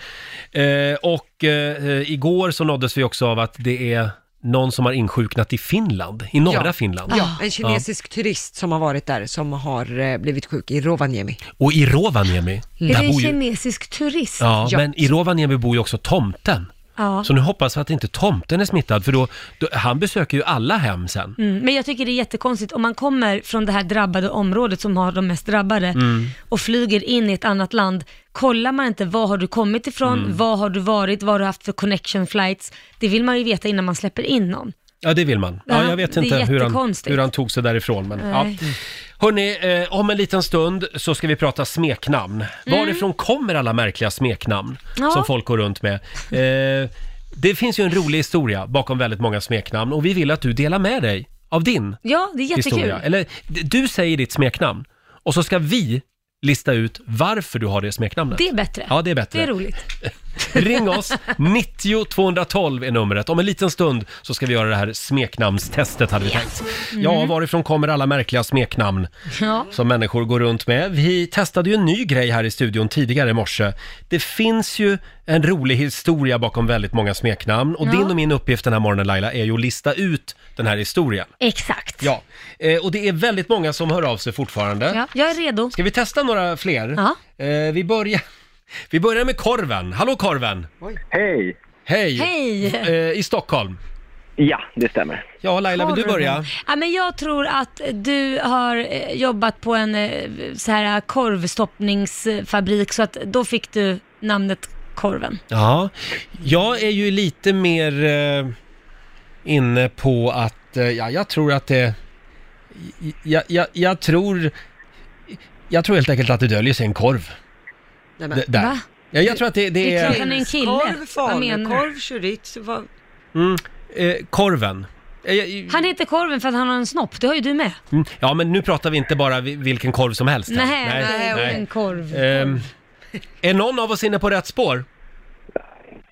Speaker 1: Eh, och eh, igår så nåddes vi också av att det är någon som har insjuknat i Finland, i norra
Speaker 2: ja.
Speaker 1: Finland.
Speaker 2: Ja, en kinesisk turist som har varit där som har eh, blivit sjuk i Rovaniemi.
Speaker 1: Ja. Och i Rovaniemi,
Speaker 4: Mm. Är det
Speaker 1: där
Speaker 4: en
Speaker 1: bor ju...
Speaker 4: kinesisk turist?
Speaker 1: Ja, men i Rovaniemi bor ju också tomten.
Speaker 4: Ja.
Speaker 1: Så nu hoppas vi att inte tomten är smittad, för då, då, han besöker ju alla hem sen.
Speaker 4: Mm, men jag tycker det är jättekonstigt om man kommer från det här drabbade området som har de mest drabbade
Speaker 1: Mm.
Speaker 4: och flyger in i ett annat land. Kollar man inte var har du kommit ifrån,
Speaker 1: Mm.
Speaker 4: var har du varit, vad har du haft för connection flights? Det vill man ju veta innan man släpper in någon.
Speaker 1: Ja, det vill man. Ja,
Speaker 4: Ja,
Speaker 1: jag vet
Speaker 4: det är
Speaker 1: inte hur han,
Speaker 4: jättekonstigt.
Speaker 1: hur han tog sig därifrån. Men, ja.
Speaker 4: Nej.
Speaker 1: Hörni, eh, om en liten stund så ska vi prata smeknamn. Varifrån kommer alla märkliga smeknamn
Speaker 4: Mm. Ja.
Speaker 1: som folk går runt med? Eh, det finns ju en rolig historia bakom väldigt många smeknamn och vi vill att du delar med dig av din
Speaker 4: Ja, det är jättekul.
Speaker 1: historia. Eller d- du säger ditt smeknamn och så ska vi lista ut varför du har det smeknamnet.
Speaker 4: Det är bättre.
Speaker 1: Ja, det är bättre.
Speaker 4: Det är roligt.
Speaker 1: Ring oss! 90 212 är numret. Om en liten stund så ska vi göra det här smeknamnstestet hade vi tänkt. Ja,
Speaker 4: Mm.
Speaker 1: varifrån kommer alla märkliga smeknamn
Speaker 4: Ja.
Speaker 1: som människor går runt med? Vi testade ju en ny grej här i studion tidigare i morse. Det finns ju en rolig historia bakom väldigt många smeknamn och
Speaker 4: Ja.
Speaker 1: din och min uppgift den här morgonen Laila är ju att lista ut den här historien.
Speaker 4: Exakt.
Speaker 1: Ja, eh, och det är väldigt många som hör av sig fortfarande.
Speaker 4: Ja, jag är redo.
Speaker 1: Ska vi testa några fler? Eh, vi, börjar, vi börjar med Korven. Hallå Korven! Hej! Hej!
Speaker 4: Hej.
Speaker 1: Eh, I Stockholm? Ja, det stämmer. Ja, Laila, vill du börja?
Speaker 4: Ja, men jag tror att du har eh, jobbat på en eh, så här korvstoppningsfabrik så att då fick du namnet Korven.
Speaker 1: Ja, jag är ju lite mer eh, inne på att, eh, ja, jag tror att det, jag, jag, jag tror, jag tror helt enkelt att det döljer sig en korv.
Speaker 2: Nej,
Speaker 1: D- där. Ja, jag tror att det, det är...
Speaker 4: han är en kille.
Speaker 2: Korv,
Speaker 4: Vad menar
Speaker 2: falukorv,
Speaker 4: du?
Speaker 2: chorizo, vad...
Speaker 1: Mm, eh, korven. Eh, jag-
Speaker 4: Han heter Korven för att han har en snopp, det har ju du med.
Speaker 1: Mm, Ja, men nu pratar vi inte bara vi- vilken korv som helst. här.
Speaker 4: Nej, nej, en korv.
Speaker 1: Ehm, är någon av oss inne på rätt spår?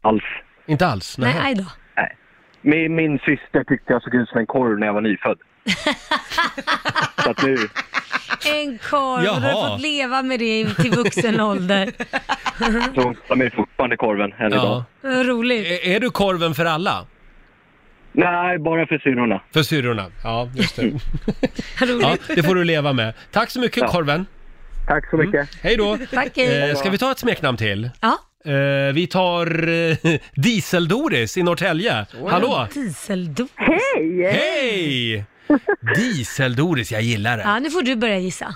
Speaker 8: Alls.
Speaker 1: Inte alls?
Speaker 4: Nej,
Speaker 1: nähä.
Speaker 4: aj då.
Speaker 8: Min, min syster tyckte jag såg ut som en korv när jag var nyfödd. Så att nu...
Speaker 4: En korv, och du
Speaker 8: Jaha.
Speaker 4: har fått leva med det till vuxen ålder.
Speaker 8: Så hon kallar mig fortfarande korven än idag.
Speaker 4: Vad Roligt.
Speaker 1: Är, är du korven för alla?
Speaker 8: Nej, bara för syrrorna.
Speaker 1: För syrrorna, ja just det. ja,
Speaker 4: Roligt.
Speaker 1: det får du leva med. Tack så mycket
Speaker 8: Ja.
Speaker 1: korven.
Speaker 8: Tack så mycket.
Speaker 1: Hej då.
Speaker 4: Tack, hej.
Speaker 1: Eh, ska vi ta ett smeknamn till?
Speaker 4: Ja.
Speaker 1: Eh, vi tar eh, Diesel-Doris i Norrtälje. Hallå!
Speaker 4: Dieseldos.
Speaker 9: Hej!
Speaker 1: Hej! Diesel-Doris, jag gillar det.
Speaker 4: Ja, nu får du börja gissa.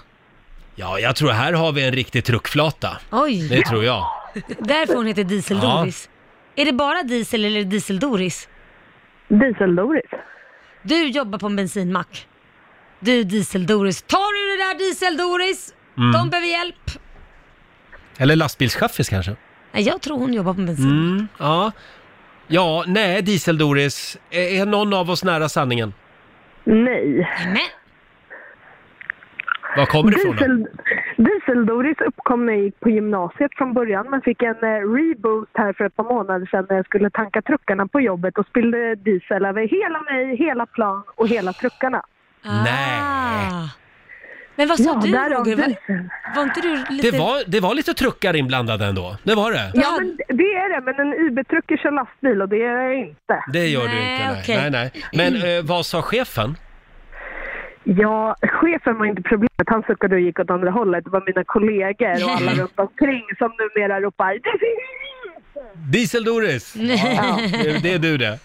Speaker 1: Ja, jag tror här har vi en riktig truckflata.
Speaker 4: Oj.
Speaker 1: Det tror jag.
Speaker 4: Därför hon heter Diesel-Doris. Är det bara diesel eller är det Diesel-Doris?
Speaker 9: Diesel-Doris.
Speaker 4: Du jobbar på en bensinmack. Du Diesel-Doris. Tar du det där Diesel-Doris?
Speaker 1: Mm.
Speaker 4: De behöver hjälp.
Speaker 1: Eller lastbilschaffis kanske?
Speaker 4: Nej, Jag tror hon jobbar på en bensin.
Speaker 1: Mm, ja. Ja, nej, Diesel-Doris. Är, är någon av oss nära sanningen?
Speaker 9: Nej.
Speaker 4: Men.
Speaker 1: Var kommer det ifrån? då?
Speaker 9: Diesel, Diesel-Doris uppkom när jag gick på gymnasiet från början men fick en eh, reboot här för ett par månader sedan när jag skulle tanka truckarna på jobbet och spillde diesel över hela mig, hela plan och hela truckarna.
Speaker 1: Nej.
Speaker 4: Ah. Men vad sa
Speaker 9: Ja,
Speaker 4: du
Speaker 9: därav
Speaker 4: Roger? Var,
Speaker 9: diesel.
Speaker 4: var inte du lite...
Speaker 1: Det var, det var lite truckar inblandade ändå. Det var det.
Speaker 9: Ja, men det är det, men en IB-trucker kör lastbil och det är jag inte.
Speaker 1: Det gör du
Speaker 9: Nej,
Speaker 1: inte. Nej, nej,
Speaker 9: okej.
Speaker 1: nej. Men eh, vad sa chefen?
Speaker 9: Ja, chefen var inte problemet. Han suckade och gick åt andra hållet. Det var mina kollegor och alla
Speaker 1: Mm.
Speaker 9: runt omkring som numera ropar "Diesel!"
Speaker 1: Diesel-Doris! Ja, det, det är du det.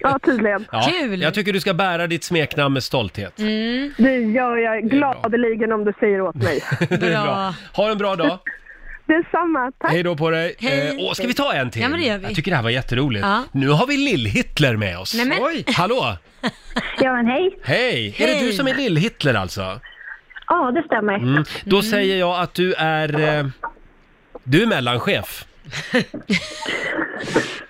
Speaker 9: Ja, tydligen.
Speaker 1: Ja, Jag tycker du ska bära ditt smeknamn med stolthet.
Speaker 9: Mm, Det gör jag gladeligen om du säger åt mig.
Speaker 1: Det är bra. Ha en bra dag.
Speaker 9: Detsamma, tack.
Speaker 1: Hej då på dig.
Speaker 9: Hej.
Speaker 1: Eh, åh, ska vi ta en till?
Speaker 9: Ja, men det gör vi.
Speaker 1: Jag tycker det här var jätteroligt.
Speaker 9: Ja.
Speaker 1: Nu har vi Lill-Hitler med oss.
Speaker 9: Nej, men- Oj.
Speaker 1: Hallå!
Speaker 10: Ja, men hej.
Speaker 1: Hej! Är det
Speaker 10: Hej.
Speaker 1: du som är Lill-Hitler alltså?
Speaker 10: Ja, det stämmer.
Speaker 9: Mm.
Speaker 1: Mm. Då säger jag att du är... Eh, du är mellanchef.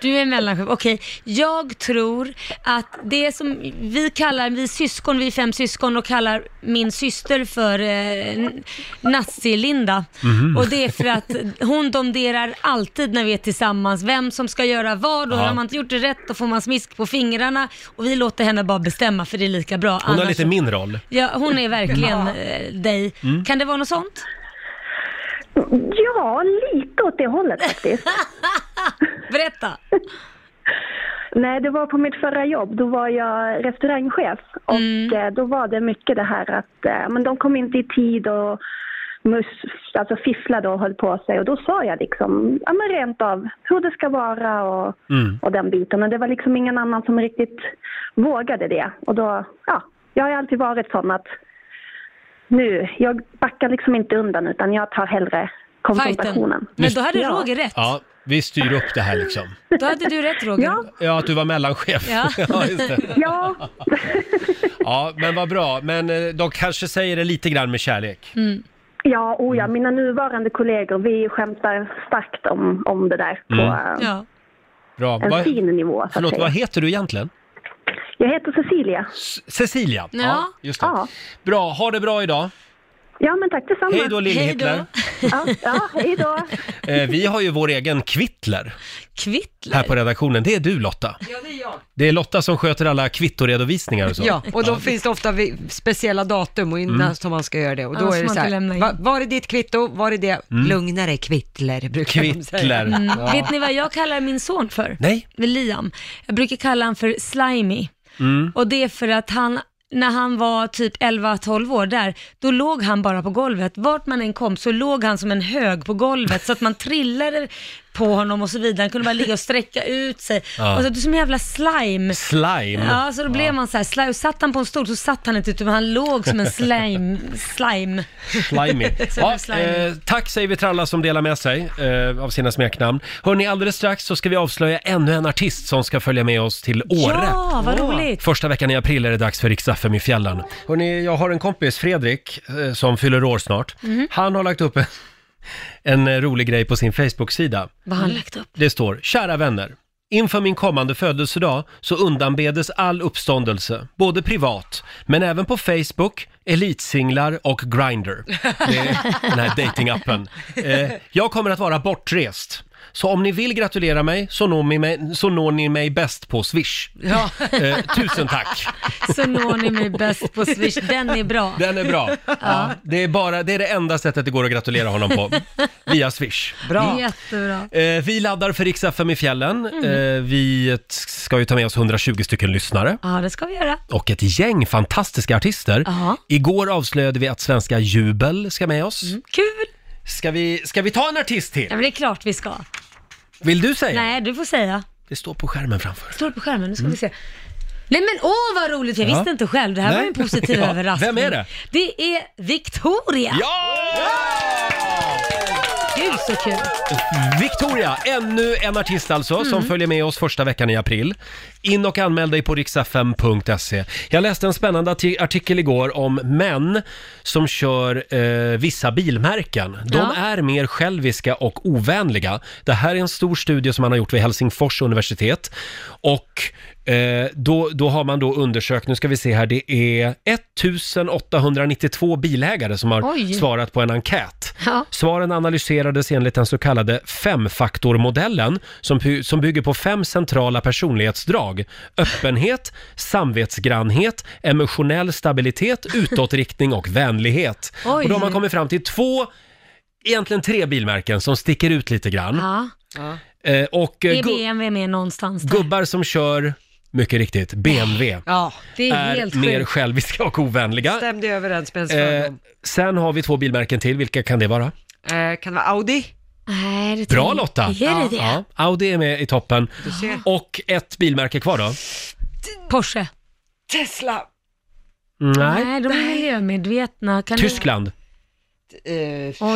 Speaker 4: Du är mellanchef. Okej, jag tror att det som vi kallar, vi syskon, vi är fem syskon och kallar min syster för eh, Nazi-Linda.
Speaker 5: Mhm.
Speaker 4: Och det är för att hon domderar alltid när vi är tillsammans vem som ska göra vad och
Speaker 1: Ja.
Speaker 4: har man inte gjort det rätt då får man smisk på fingrarna och vi låter henne bara bestämma för det är lika bra.
Speaker 1: Hon har
Speaker 4: Annars-
Speaker 1: lite min roll.
Speaker 4: Ja, hon är verkligen
Speaker 1: Ja.
Speaker 4: eh, dig.
Speaker 1: Mm.
Speaker 4: Kan det vara något sånt?
Speaker 9: Ja, lite åt det hållet faktiskt.
Speaker 4: Berätta!
Speaker 9: Nej, det var på mitt förra jobb. Då var jag restaurangchef och eh, då var det mycket det här att eh, men de kom inte i tid och mus, alltså fifflade och höll på sig. Och då sa jag liksom, ja men rent av hur det ska vara och,
Speaker 5: Mm.
Speaker 9: och den biten. Men det var liksom ingen annan som riktigt vågade det. Och då, ja, jag har ju alltid varit sån att nu, jag backar liksom inte undan utan jag tar hellre konfrontationen.
Speaker 4: Men då hade
Speaker 9: Ja.
Speaker 4: Roger rätt.
Speaker 1: Ja, vi styr upp det här liksom.
Speaker 4: Då hade du rätt Roger.
Speaker 9: Ja.
Speaker 1: Ja, att du var mellanchef.
Speaker 4: Ja.
Speaker 1: ja, just det.
Speaker 9: Ja,
Speaker 1: Ja, men vad bra. Men eh, de kanske säger det lite grann med kärlek.
Speaker 9: Mm. Ja, oh
Speaker 1: Mm.
Speaker 9: ja, mina nuvarande kollegor, vi skämtar starkt om, om det där på
Speaker 1: Mm.
Speaker 9: eh,
Speaker 4: Ja.
Speaker 1: Bra.
Speaker 9: en
Speaker 1: Vad-
Speaker 9: fin nivå. Så att
Speaker 1: Förlåt,
Speaker 9: säga.
Speaker 1: vad heter du egentligen?
Speaker 9: Jag heter Cecilia.
Speaker 1: Cecilia?
Speaker 9: Ja.
Speaker 1: just det. Bra, ha det bra idag.
Speaker 9: Ja, men tack detsamma.
Speaker 1: Hej då, Lill-Hitler.
Speaker 9: Ja, ja, hej då.
Speaker 1: Eh, vi har ju vår egen Kvittler
Speaker 4: Kvittler?
Speaker 1: här på redaktionen. Det är du Lotta.
Speaker 2: Ja, det är jag.
Speaker 1: Det är Lotta som sköter alla kvittoredovisningar och så.
Speaker 2: Ja, och då finns det ofta vi- speciella datum och innan
Speaker 1: Mm.
Speaker 2: som man ska göra det. Och då
Speaker 4: Annars
Speaker 2: är det
Speaker 4: får
Speaker 2: så
Speaker 4: man inte
Speaker 2: här, va, var är ditt kvitto? Var är det?
Speaker 1: Mm.
Speaker 2: Lugna dig, kvittler, brukar de säga.
Speaker 1: Kvittler.
Speaker 4: Mm.
Speaker 1: Ja.
Speaker 4: Vet ni vad jag kallar min son för?
Speaker 1: Nej.
Speaker 4: Liam. Jag brukar kalla han för Slimy.
Speaker 1: Mm.
Speaker 4: Och det är för att han, när han var typ 11-12 år där, då låg han bara på golvet. Vart man än kom så låg han som en hög på golvet så att man trillade på honom och så vidare. Han kunde bara ligga och sträcka ut sig.
Speaker 1: Ja. Mm.
Speaker 4: Och så, du är som en jävla slime.
Speaker 1: Slime.
Speaker 4: Ja, så då blev man så här slime. Satt han på en stol så satt han inte utan han låg som en slime. slime.
Speaker 1: Slimy.
Speaker 4: Så det
Speaker 1: Ja,
Speaker 4: blev slimy.
Speaker 1: eh, tack säger vi till alla som delar med sig eh, av sina smeknamn. Hörni, alldeles strax så ska vi avslöja ännu en artist som ska följa med oss till Åre.
Speaker 4: Ja, vad roligt.
Speaker 1: Första veckan i april är det dags för Rix FM i fjällen. Hörni, jag har en kompis, Fredrik, eh, som fyller år snart. Han har lagt upp en, en eh, rolig grej på sin Facebook-sida.
Speaker 4: Vad har han lagt upp?
Speaker 1: Det står, kära vänner. Inför min kommande födelsedag så undanbedes all uppståndelse, både privat, men även på Facebook, elitsinglar och Grindr. Det är den här datingappen. Eh, jag kommer att vara bortrest. Så om ni vill gratulera mig så når ni mig, så når ni mig bäst på Swish. Eh, tusen tack!
Speaker 4: Så når ni mig bäst på Swish. Den är bra.
Speaker 1: Den är bra. Ja. Det, är bara, det är det enda sättet det går att gratulera honom på. Via Swish.
Speaker 4: Jättebra.
Speaker 1: Eh, vi laddar för Rix FM i fjällen.
Speaker 4: Mm.
Speaker 1: Eh, vi t- ska ju ta med oss 120 stycken lyssnare
Speaker 4: Ja, det ska vi göra.
Speaker 1: och ett gäng fantastiska artister.
Speaker 4: Ja.
Speaker 1: Igår avslöjade vi att svenska Jubel ska med oss.
Speaker 4: Mm. Kul!
Speaker 1: Ska vi, ska vi ta en artist
Speaker 4: Ja,
Speaker 1: till?
Speaker 4: men det är klart vi ska.
Speaker 1: Vill du säga?
Speaker 4: Nej, du får säga.
Speaker 1: Det står på skärmen framför.
Speaker 4: Står det på skärmen, nu ska
Speaker 1: Mm.
Speaker 4: vi se. Nej men åh vad roligt, jag
Speaker 1: Ja.
Speaker 4: visste inte själv. Det här var
Speaker 1: Nej.
Speaker 4: ju en positiv
Speaker 1: Ja,
Speaker 4: överraskning.
Speaker 1: vem är det?
Speaker 4: Det är Victoria.
Speaker 1: Ja!
Speaker 4: Gud så kul.
Speaker 1: Mm. Victoria, ännu en artist alltså som
Speaker 4: Mm.
Speaker 1: följer med oss första veckan i april. In och anmäl dig på riksfm.se. Jag läste en spännande arti- artikel igår om män som kör eh, vissa bilmärken. De
Speaker 5: Ja.
Speaker 1: är mer själviska och ovänliga. Det här är en stor studie som man har gjort vid Helsingfors universitet. Och eh, då, då har man då undersökt, nu ska vi se här, det är 1892 bilägare som har
Speaker 5: Oj.
Speaker 1: svarat på en enkät.
Speaker 5: Ja.
Speaker 1: Svaren analyserades enligt den så kallade femfaktormodellen som, py- som bygger på fem centrala personlighetsdrag. Öppenhet, samvetsgrannhet, emotionell stabilitet, utåtriktning och vänlighet.
Speaker 5: Oj.
Speaker 1: Och då har man kommit fram till två, egentligen tre bilmärken som sticker ut lite grann.
Speaker 4: Ja.
Speaker 1: Eh, och eh,
Speaker 4: Är
Speaker 1: gu-
Speaker 4: BMW med någonstans där?
Speaker 1: gubbar som kör, mycket riktigt, BMW.
Speaker 2: Ja,
Speaker 4: det är, helt
Speaker 1: mer
Speaker 4: sjukt.
Speaker 1: själviska och ovänliga.
Speaker 2: Stämde överens med ens
Speaker 1: Eh,
Speaker 2: fördom.
Speaker 1: sen har vi två bilmärken till, vilka kan det vara?
Speaker 2: Eh, kan det vara Audi?
Speaker 4: Nej, det
Speaker 1: Bra Lotta!
Speaker 2: Är det
Speaker 1: Ja, Audi är med i toppen.
Speaker 4: Ah.
Speaker 2: ser.
Speaker 1: Och ett bilmärke kvar då?
Speaker 4: Porsche.
Speaker 2: Tesla.
Speaker 1: Nej.
Speaker 4: Nej, de är miljömedvetna. Kan
Speaker 1: Tyskland.
Speaker 2: eh,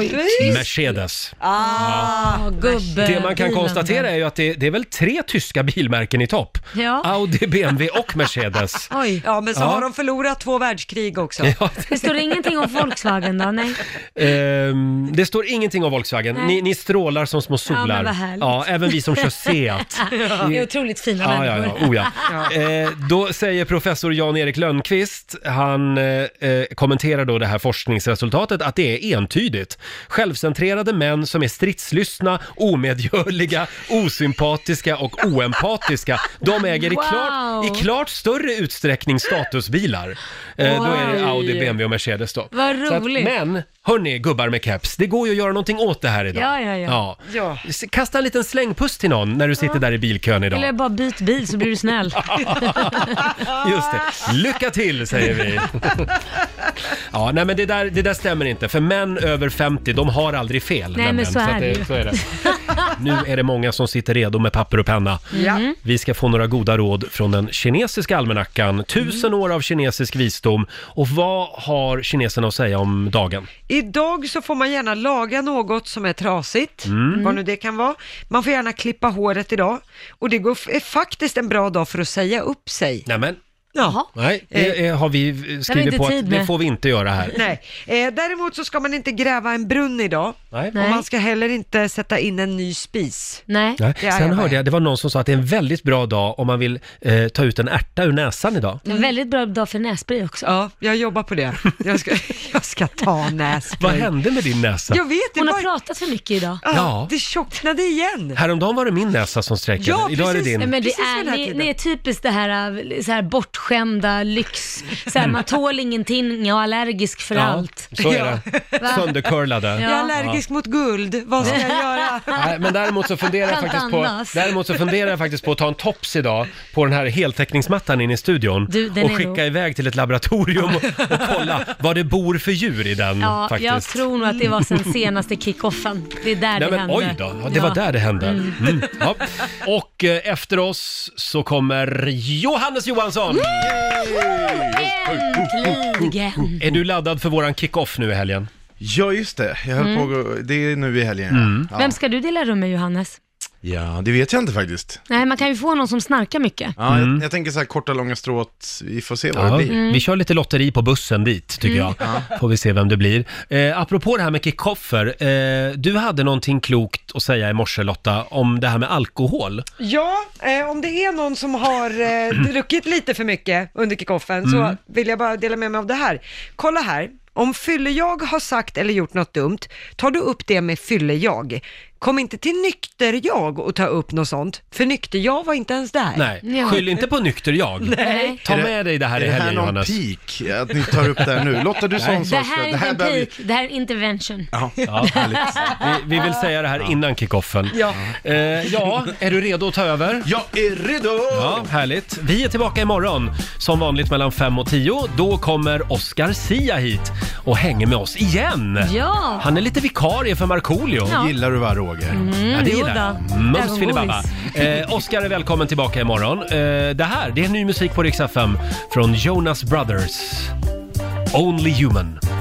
Speaker 1: Mercedes.
Speaker 2: Ah,
Speaker 4: Åh, gubbe,
Speaker 1: Det man kan
Speaker 4: bilen
Speaker 1: konstatera
Speaker 4: där.
Speaker 1: är ju att det, det är väl tre tyska bilmärken i topp.
Speaker 4: Ja.
Speaker 1: Audi, BMW och Mercedes.
Speaker 4: Oj.
Speaker 2: ja, men så
Speaker 1: Ja.
Speaker 2: har de förlorat två världskrig också.
Speaker 1: Ja,
Speaker 4: Det står ingenting om Volkswagen då? Nej.
Speaker 1: ehm, det står ingenting om Volkswagen.
Speaker 4: Nej.
Speaker 1: Ni, ni strålar som små solar.
Speaker 4: men vad härligt.
Speaker 1: Ja, även vi som kör Seat.
Speaker 4: Det är otroligt fina
Speaker 1: Ja, ja,
Speaker 4: människor.
Speaker 1: ja. Oh, ja. Eh, då säger professor Jan-Erik Lönnqvist, han eh, eh, kommenterar då det här forskningsresultatet, att det är entydigt. Självcentrerade män som är stridslyssna, omedgörliga, osympatiska och oempatiska, de äger i
Speaker 4: Wow.
Speaker 1: klart, i klart större utsträckning statusbilar. Eh, då är det Audi, BMW och Mercedes då.
Speaker 4: Vad
Speaker 1: Så
Speaker 4: roligt.
Speaker 1: men, hörni gubbar med keps, det går ju att göra någonting åt det här idag.
Speaker 4: Ja, ja, ja.
Speaker 2: Ja.
Speaker 1: S- Kasta en liten slängpuss till någon när du sitter där i bilkön idag.
Speaker 4: Eller bara byt bil så blir du snäll.
Speaker 1: Just det. Lycka till säger vi. ja, nej men det där, det där stämmer inte. För män över 50, de har aldrig fel.
Speaker 4: Nej, men
Speaker 1: nämligen.
Speaker 4: så är
Speaker 1: att
Speaker 4: det ju.
Speaker 1: så är det. Nu är det många som sitter redo med papper och penna. Vi ska få några goda råd från den kinesiska almanackan. Tusen år av kinesisk visdom. Och vad har kineserna att säga om dagen?
Speaker 2: Idag så får man gärna laga något som är trasigt,
Speaker 1: Mm.
Speaker 2: vad nu det kan vara. Man får gärna klippa håret idag och det går, är faktiskt en bra dag för att säga upp sig.
Speaker 1: Nej, men,
Speaker 2: Jaha.
Speaker 1: nej det eh, har vi eh,
Speaker 4: har vi
Speaker 1: skrivit
Speaker 4: inte
Speaker 1: på att
Speaker 4: tid
Speaker 1: det
Speaker 4: med.
Speaker 1: får vi inte göra här.
Speaker 2: Nej, eh, däremot så ska man inte gräva en brunn idag
Speaker 1: Nej.
Speaker 2: och
Speaker 4: Nej.
Speaker 2: man ska heller inte sätta in en ny spis.
Speaker 4: Nej.
Speaker 1: Nej.
Speaker 2: Det är
Speaker 1: Sen
Speaker 2: jag
Speaker 1: hörde
Speaker 2: med.
Speaker 1: jag, det var någon som sa att det är en väldigt bra dag om man vill eh, ta ut en ärta ur näsan idag.
Speaker 4: En väldigt bra dag för nässpray också.
Speaker 2: Ja, jag jobbar på det. Jag ska, jag ska ta
Speaker 1: Vad
Speaker 2: nässpray.
Speaker 1: hände med din näsa?
Speaker 2: Jag vet inte.
Speaker 4: Hon har
Speaker 2: bara-
Speaker 4: pratat för mycket idag.
Speaker 2: Ja,
Speaker 1: Ja.
Speaker 2: Det tjocknade igen.
Speaker 1: Häromdagen var det min näsa som sträckade,
Speaker 2: Ja,
Speaker 1: idag är det
Speaker 2: precis.
Speaker 1: din.
Speaker 4: Nej, men det
Speaker 2: Precis vid den
Speaker 4: är,
Speaker 2: här
Speaker 4: ni,
Speaker 2: tiden.
Speaker 4: ni är typiskt det här, äh, så här bortskämda lyx, så
Speaker 1: Mm.
Speaker 4: här, man tål ingenting och allergisk för allt.
Speaker 1: så är det. Söndercurlade.
Speaker 4: Ja.
Speaker 2: Jag är allergisk mot guld. Vad ska jag göra?
Speaker 1: Nej, men däremot så, funderar jag
Speaker 4: Kan
Speaker 1: faktiskt på,
Speaker 4: andas.
Speaker 1: däremot så funderar jag faktiskt på att ta en tops idag på den här heltäckningsmattan in i studion
Speaker 4: Du, den
Speaker 1: och
Speaker 4: är
Speaker 1: skicka
Speaker 4: nog-
Speaker 1: iväg till ett laboratorium och, och kolla vad det bor för djur i den
Speaker 4: Ja,
Speaker 1: Mm, faktiskt.
Speaker 4: jag tror nog att det var sen senaste kickoffen. Det är där
Speaker 1: Nej,
Speaker 4: det
Speaker 1: men,
Speaker 4: hände.
Speaker 1: oj då, ja, det var
Speaker 4: Ja.
Speaker 1: där det hände. Mm. Ja. Och eh, efter oss så kommer Johannes Johansson!
Speaker 4: Mm. Äntligen!
Speaker 1: Är du laddad för våran kick-off nu i helgen?
Speaker 5: Ja, just det. Jag höll på att- Det är nu i helgen.
Speaker 1: Mm.
Speaker 5: Ja.
Speaker 4: Vem ska du dela rum med Johannes?
Speaker 5: ja, det vet jag inte faktiskt.
Speaker 4: Nej, man kan ju få någon som snarkar mycket.
Speaker 5: Ja, jag, jag tänker så här korta, långa stråt. Vi får se vad det
Speaker 1: Mm. Ja, Mm.
Speaker 5: blir.
Speaker 1: Vi kör lite lotteri på bussen dit,
Speaker 5: Mm.
Speaker 1: tycker jag. Får vi se vem det blir. Eh, apropå det här med kickoffer, eh, du hade någonting klokt att säga i morse Lotta, om det här med alkohol.
Speaker 2: Ja, eh, om det är någon som har eh, druckit lite för mycket under kickoffen så vill jag bara dela med mig av det här. Kolla här, om fylle-jag har sagt eller gjort något dumt, tar du upp det med fylle-jag. Kom inte till nykter-jag och ta upp något sånt, för nykter-jag var inte ens där.
Speaker 1: Nej,
Speaker 4: Ja.
Speaker 1: skyll inte på nykter jag.
Speaker 4: Nej.
Speaker 1: Ta
Speaker 5: Är det-
Speaker 1: med dig det här
Speaker 5: Är
Speaker 1: i
Speaker 5: det här
Speaker 1: helgen
Speaker 5: någon
Speaker 1: Johannes.
Speaker 5: peak? Att ni tar upp det här nu? Lotta, du sa en
Speaker 4: Det
Speaker 5: sak.
Speaker 4: här är inte en
Speaker 5: behöver-
Speaker 4: peak, det här är en intervention.
Speaker 5: Ja,
Speaker 1: Ja.
Speaker 5: härligt.
Speaker 1: Vi, vi vill säga det här innan kickoffen.
Speaker 2: Ja.
Speaker 1: Eh, ja, är du redo att ta över?
Speaker 5: Jag är redo!
Speaker 1: Ja, härligt. Vi är tillbaka imorgon, som vanligt mellan 5 och 10. Då kommer Oscar Sia hit och hänger med oss igen.
Speaker 4: Ja!
Speaker 1: Han är lite vikarie för Markoolio.
Speaker 4: Ja. Mm,
Speaker 5: Gillar du va, Roger?
Speaker 1: Ja, det
Speaker 4: jo
Speaker 1: gillar
Speaker 4: då.
Speaker 1: jag. Mums
Speaker 4: Ögongodis.
Speaker 1: filibabba. Eh, Oscar är välkommen tillbaka imorgon. Eh, det här, det är ny musik på Rix FM från Jonas Brothers. Only Human.